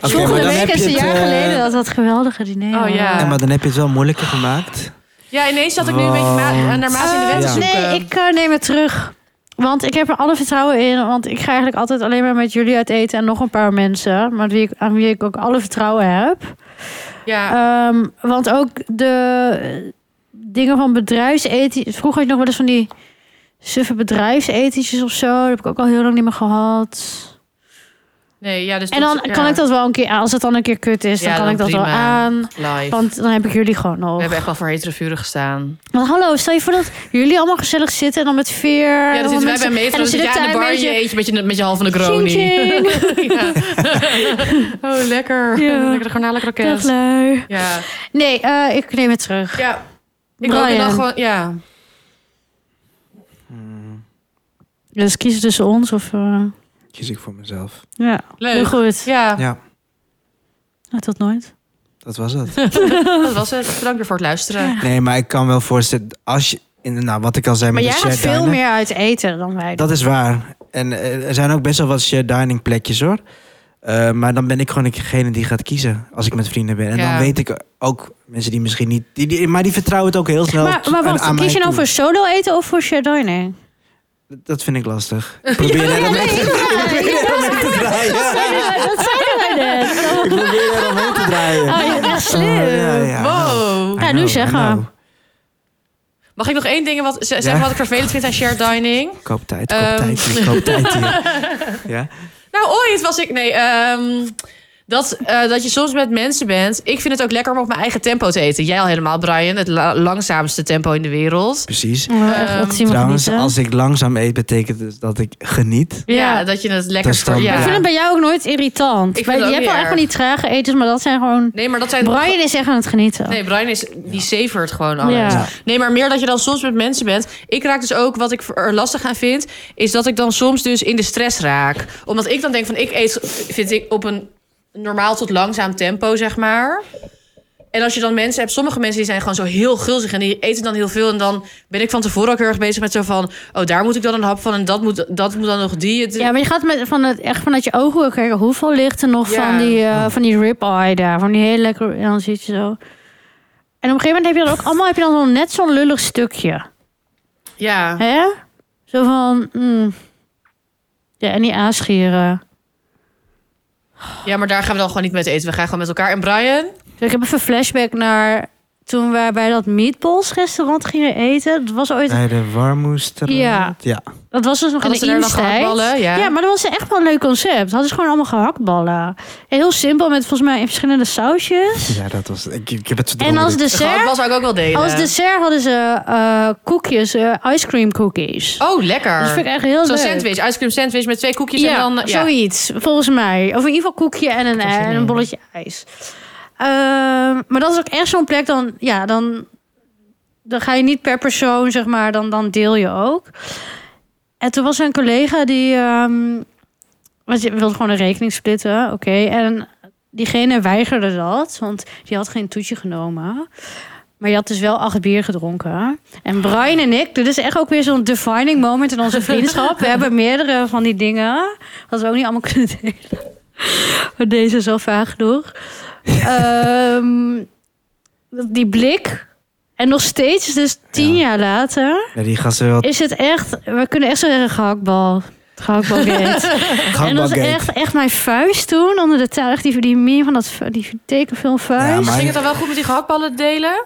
maar
Volgende
dan
week
heb
is
je
een
het,
jaar
eh,
geleden dat dat geweldige diner. eh,
Oh, ja.
En maar dan heb je het wel moeilijker gemaakt.
ja, ineens zat ik nu een beetje ma- naar Maas in de wet te
Eh,
zoeken.
Nee, ik eh, neem het terug. Want ik heb er alle vertrouwen in. Want ik ga eigenlijk altijd alleen maar met jullie uit eten en nog een paar mensen. Maar wie ik, aan wie ik ook alle vertrouwen heb.
Ja,
Ehm, want ook de eh, dingen van bedrijfsethisch. Vroeger had je nog wel eens van die suffe bedrijfsethisch of zo. Dat heb ik ook al heel lang niet meer gehad.
nee, Dus ja, dus
En dan kan ik dat wel een keer, als het dan een keer kut is,
Ja,
dan kan
dan
ik dat wel
prima.
aan.
Live.
Want dan heb ik jullie gewoon
we
nog.
hebben echt wel voor hetere vuren gestaan.
Want hallo, stel je voor dat jullie allemaal gezellig zitten en dan met veer.
Ja, dan zitten wij bij
Oh, mensen-
Metro, dan
zit
zit jij aan
daar
de
een
bar, je
beetje-
eet je met je, met je halve Negroni.
Tjing, tjing.
[laughs] Ja. Oh, lekker.
Ja.
Lekker de garnalenkrokket.
Dag, lui.
Ja.
Nee, eh, ik neem het terug.
ja. Ik
Brian.
rook er dan gewoon... Ja.
Mm,
Dus kiezen tussen ons of... eh,
Kies ik voor mezelf.
ja, heel
Leuk.
goed.
Ja,
Ja,
Nou, tot nooit.
dat was het.
dat was het. Bedankt weer voor het luisteren.
Nee, maar ik kan wel voorstellen, als je, in, nou wat ik al zei
Maar
met
jij
de
gaat
shared
veel
dining,
meer uit eten dan wij.
Dat is waar. En eh, er zijn ook best wel wat shared dining plekjes hoor. Eh, maar dan ben ik gewoon degene die gaat kiezen als ik met vrienden ben. En
Ja.
dan weet ik ook mensen die misschien niet, die, die- maar die vertrouwen het ook heel snel.
maar maar
aan-
wat,
aan mij
kies je nou
toe.
voor solo eten of voor shared dining?
Dat vind ik lastig. Ik probeer
[laughs]
er
Ja,
omheen-
nee,
ik
ja,
[laughs] probeer er omheen te
[laughs]
draaien.
Dat zeiden wij
dus.
net.
Ik probeer er omheen te draaien.
Oh, je bent echt slim.
Oh, ja, ja. Nou,
Wow.
I
Ja, nu
know,
zeggen.
I know.
Mag ik nog één ding wat, z- zeggen
Ja.
wat ik vervelend vind aan shared dining?
Koop tijd, koop
Ehm.
tijd hier, koop
[laughs]
tijd hier. Ja?
Nou, ooit was ik... Nee, ehm, dat, eh, dat je soms met mensen bent. Ik vind het ook lekker om op mijn eigen tempo te eten. Jij al helemaal, Brian. Het la- langzaamste tempo in de wereld.
Precies.
Oh, echt, wat zien we
Trouwens,
genieten.
als ik langzaam eet, betekent dus dat ik geniet.
Ja,
Ja.
dat je het lekker...
Dat is dan-
ja.
Ik vind het bij jou ook nooit irritant.
Ik vind
Bij-
het ook
je hebt
niet
wel echt
erg.
van die trage etens, maar dat zijn gewoon...
Nee, maar dat zijn...
Brian is echt aan het genieten.
Nee, Brian is, die savert gewoon alles.
Ja.
Ja.
Nee, maar meer dat je dan soms met mensen bent. Ik raak dus ook, wat ik er lastig aan vind, is dat ik dan soms dus in de stress raak. Omdat ik dan denk van, ik eet, vind ik, op een normaal tot langzaam tempo, zeg maar. En als je dan mensen hebt, sommige mensen die zijn gewoon zo heel gulzig en die eten dan heel veel. En dan ben ik van tevoren ook heel erg bezig met zo van, oh, daar moet ik dan een hap van en dat moet, dat moet dan nog die. Het-
Ja, maar je gaat met, van het, echt vanuit je ogen ook kijken hoeveel ligt er nog
Ja.
van die, eh, van die rib-eye daar. Van die hele lekker... En dan zit je zo... En op een gegeven moment heb je dan ook allemaal... heb je dan zo net zo'n lullig stukje.
ja.
Hè? Zo van... mm. Ja, en die aanscheren.
ja, maar daar gaan we dan gewoon niet met eten. We gaan gewoon met elkaar. En Brian?
Dus ik heb even flashback naar... toen wij bij dat meatballs restaurant gingen eten. Dat was ooit...
Bij de warmoester.
Ja.
ja.
Dat was dus nog in
Hadden
de
ze daar nog
Iemstijd.
gehaktballen? Ja.
maar dat was echt wel een leuk concept. Hadden ze gewoon allemaal gehaktballen. Heel simpel, met volgens mij verschillende sausjes.
Ja, dat was. Ik, ik heb het
En
verdrongen.
als
De gehakt
dessert, dus-
was ik ook wel delen.
als dessert hadden ze eh, koekjes, eh ice cream cookies. Dus
Oh, lekker.
Dat vind ik echt heel
Zo'n
leuk.
sandwich, ice cream sandwich met twee koekjes
Ja,
en dan... Ja.
zoiets, volgens mij. Of in ieder geval koekje en een, eh,
heb er zin
en een
in.
bolletje ijs. Ehm, maar dat is ook echt zo'n plek, dan, ja, dan, dan ga je niet per persoon, zeg maar, dan, dan deel je ook. En toen was er een collega die, ehm want je wilde gewoon een rekening splitten, oké. En diegene weigerde dat, want die had geen toetje genomen. Maar je had dus wel acht bier gedronken. En Brian en ik, dit is echt ook weer zo'n defining moment in onze vriendschap. We hebben meerdere van die dingen. Dat we ook niet allemaal [laughs] kunnen delen. Maar deze is al vaag genoeg. Ehm, die blik. En nog steeds, dus tien
Ja.
jaar later,
Ja, die gasten wel.
is het echt... We kunnen echt zo zeggen, gehaktbal.
[laughs]
Gehaktbalgate. en dat was
Gehaktbalgate.
echt, echt mijn vuist toen onder de tuig. Die, die meme van dat, die tekenfilm vuist.
Ja,
Ja,
maar-
Ging het dan wel goed met die gehaktballen delen?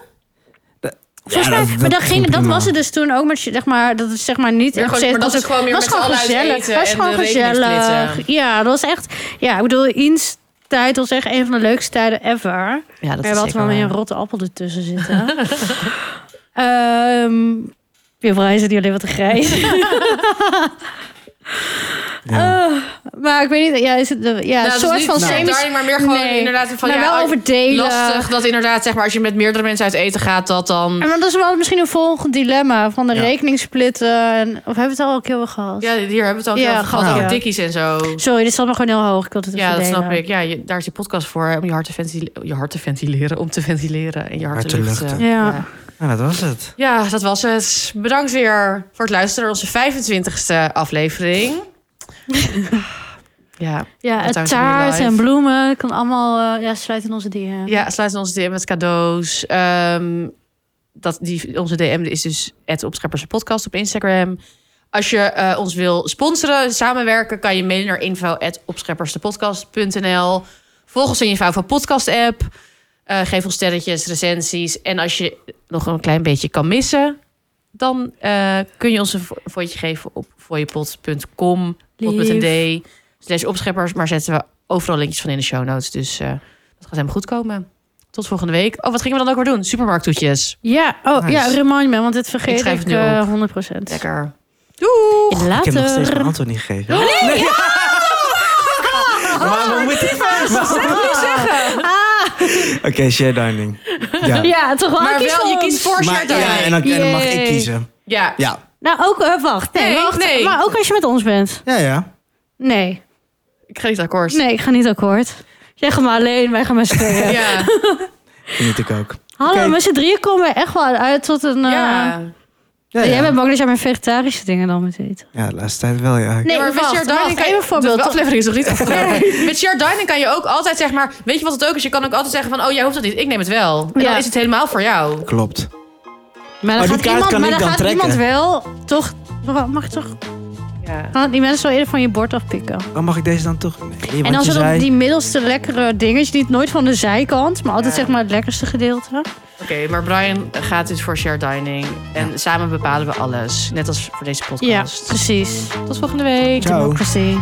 Volgens mij, maar dat, ging, dat was het dus toen ook. Met, je- zeg maar, dat is zeg maar niet
Maar
op
goed,
zich-
maar dat is gewoon weer
was
met z'n
gewoon
allen uit
gezellig.
eten
Het was
en
gewoon
de rekening
gezellig.
splitsen.
Ja, dat was echt... Ja, ik bedoel, Iens tijd was echt een van de leukste tijden ever.
Ja,
Dat er had wel weer een rotte appel ertussen zitten. [laughs] Ehm weer is het jullie wat te grijs. [laughs] Eh, maar ik weet niet, ja, is het, eh, ja, een soort van
nou,
semi...
maar meer gewoon
Nee.
inderdaad van
maar
ja,
wel
als-
over delen.
lastig dat inderdaad zeg maar als je met meerdere mensen uit eten gaat dat dan
En maar dat is wel misschien een volgend dilemma van de
Ja.
rekening splitten. En, of hebben we het al een keer wel gehad?
ja hier hebben we het al
Ja,
over gehad
gehad,
over
ja.
dikkies en zo
Sorry, dit staat me gewoon heel hoog. Ik wilde het
ja
even
dat snap
delen.
ik ja je- daar is die podcast voor hè, om je hart te ventileren je hart te ventileren om te ventileren en je hart,
Hart
te
te
luchten,
luchten.
Ja.
ja.
Nou, dat was het.
Ja, dat was het. Bedankt weer voor het luisteren naar onze 25e
[laughs]
aflevering. ja.
Ja,
Dat
het
zou ik niet
taart
live.
en bloemen kan allemaal eh ja, sluiten in onze DM.
ja, sluit ons DM met cadeaus. Ehm, dat, die, onze DM is dus het Podcast op Instagram. Als je eh, ons wil sponsoren, samenwerken, kan je mailen naar info.opscheppersdepodcast.nl. Volg ons in je favoriete podcast app. Eh, geef ons sterretjes, recensies. En als je nog een klein beetje kan missen, dan eh, kun je ons een vo- voetje geven op fooiepot.com. Pot met een D. Slash opscheppers, maar zetten we overal linkjes van in de show notes. Dus eh, dat gaat helemaal goed komen. Tot volgende week. Oh, wat gingen we dan ook weer doen? Supermarkttoetjes.
Ja, oh
Nice.
ja, remind me, want dit
Ik
vergeet
schrijf
ik,
het nu
eh,
op.
100%.
Lekker. Doei.
Ik heb nog steeds
Later.
mijn antwoord niet gegeven. Nee. [laughs] Maar
Ah,
we moeten... [laughs] Oké, share dining. Ja.
Ja, toch wel.
Maar
Ik kies
wel, je
ons.
kiest voor
Maar,
Share
ja, en
Dining.
dan, en dan mag
Yay.
ik kiezen.
Ja.
Ja.
Nou, ook, eh, wacht. Nee,
Nee,
wacht.
nee.
Maar ook als je met ons bent.
Ja, ja.
Nee,
Ik ga niet akkoord.
nee, ik ga niet akkoord. Jij gaat maar alleen, wij gaan maar
[laughs]
spelen.
Ja.
Geniet ik ook.
Hallo,
Oké.
met z'n drieën komen we echt wel uit tot een... eh,
ja.
Ja,
Jij bent
ja.
bang dat jij mijn vegetarische dingen dan moet eten.
ja, de laatste tijd wel, ja.
Nee,
Ja, maar met
wacht,
Share
wacht,
Dining kan je
even een voorbeeld.
De aflevering is nog niet afgelopen. [laughs] Met Share Dining kan je ook altijd zeg maar... Weet je wat het ook is? Je kan ook altijd zeggen van... Oh, jij hoeft dat niet. Ik neem het wel. En
Ja.
dan is het helemaal voor jou.
Klopt.
Maar
Oh,
dan
die
gaat,
kaart
iemand,
kan
maar
ik
dan
dan
gaat
trekken.
iemand wel toch... Oh, Mag toch...
Ja.
Kan die mensen wel eerder van je bord afpikken?
Oh, mag ik deze dan toch? Nee, want
en dan
je
zijn
zei...
dat die middelste lekkere dingetjes, niet nooit van de zijkant, maar altijd
Ja.
zeg maar het lekkerste gedeelte.
Oké, maar Brian gaat dus voor Share Dining. En samen bepalen we alles. Net als voor deze
Ja,
podcast.
precies.
Tot volgende week.
Ciao.
Democracy.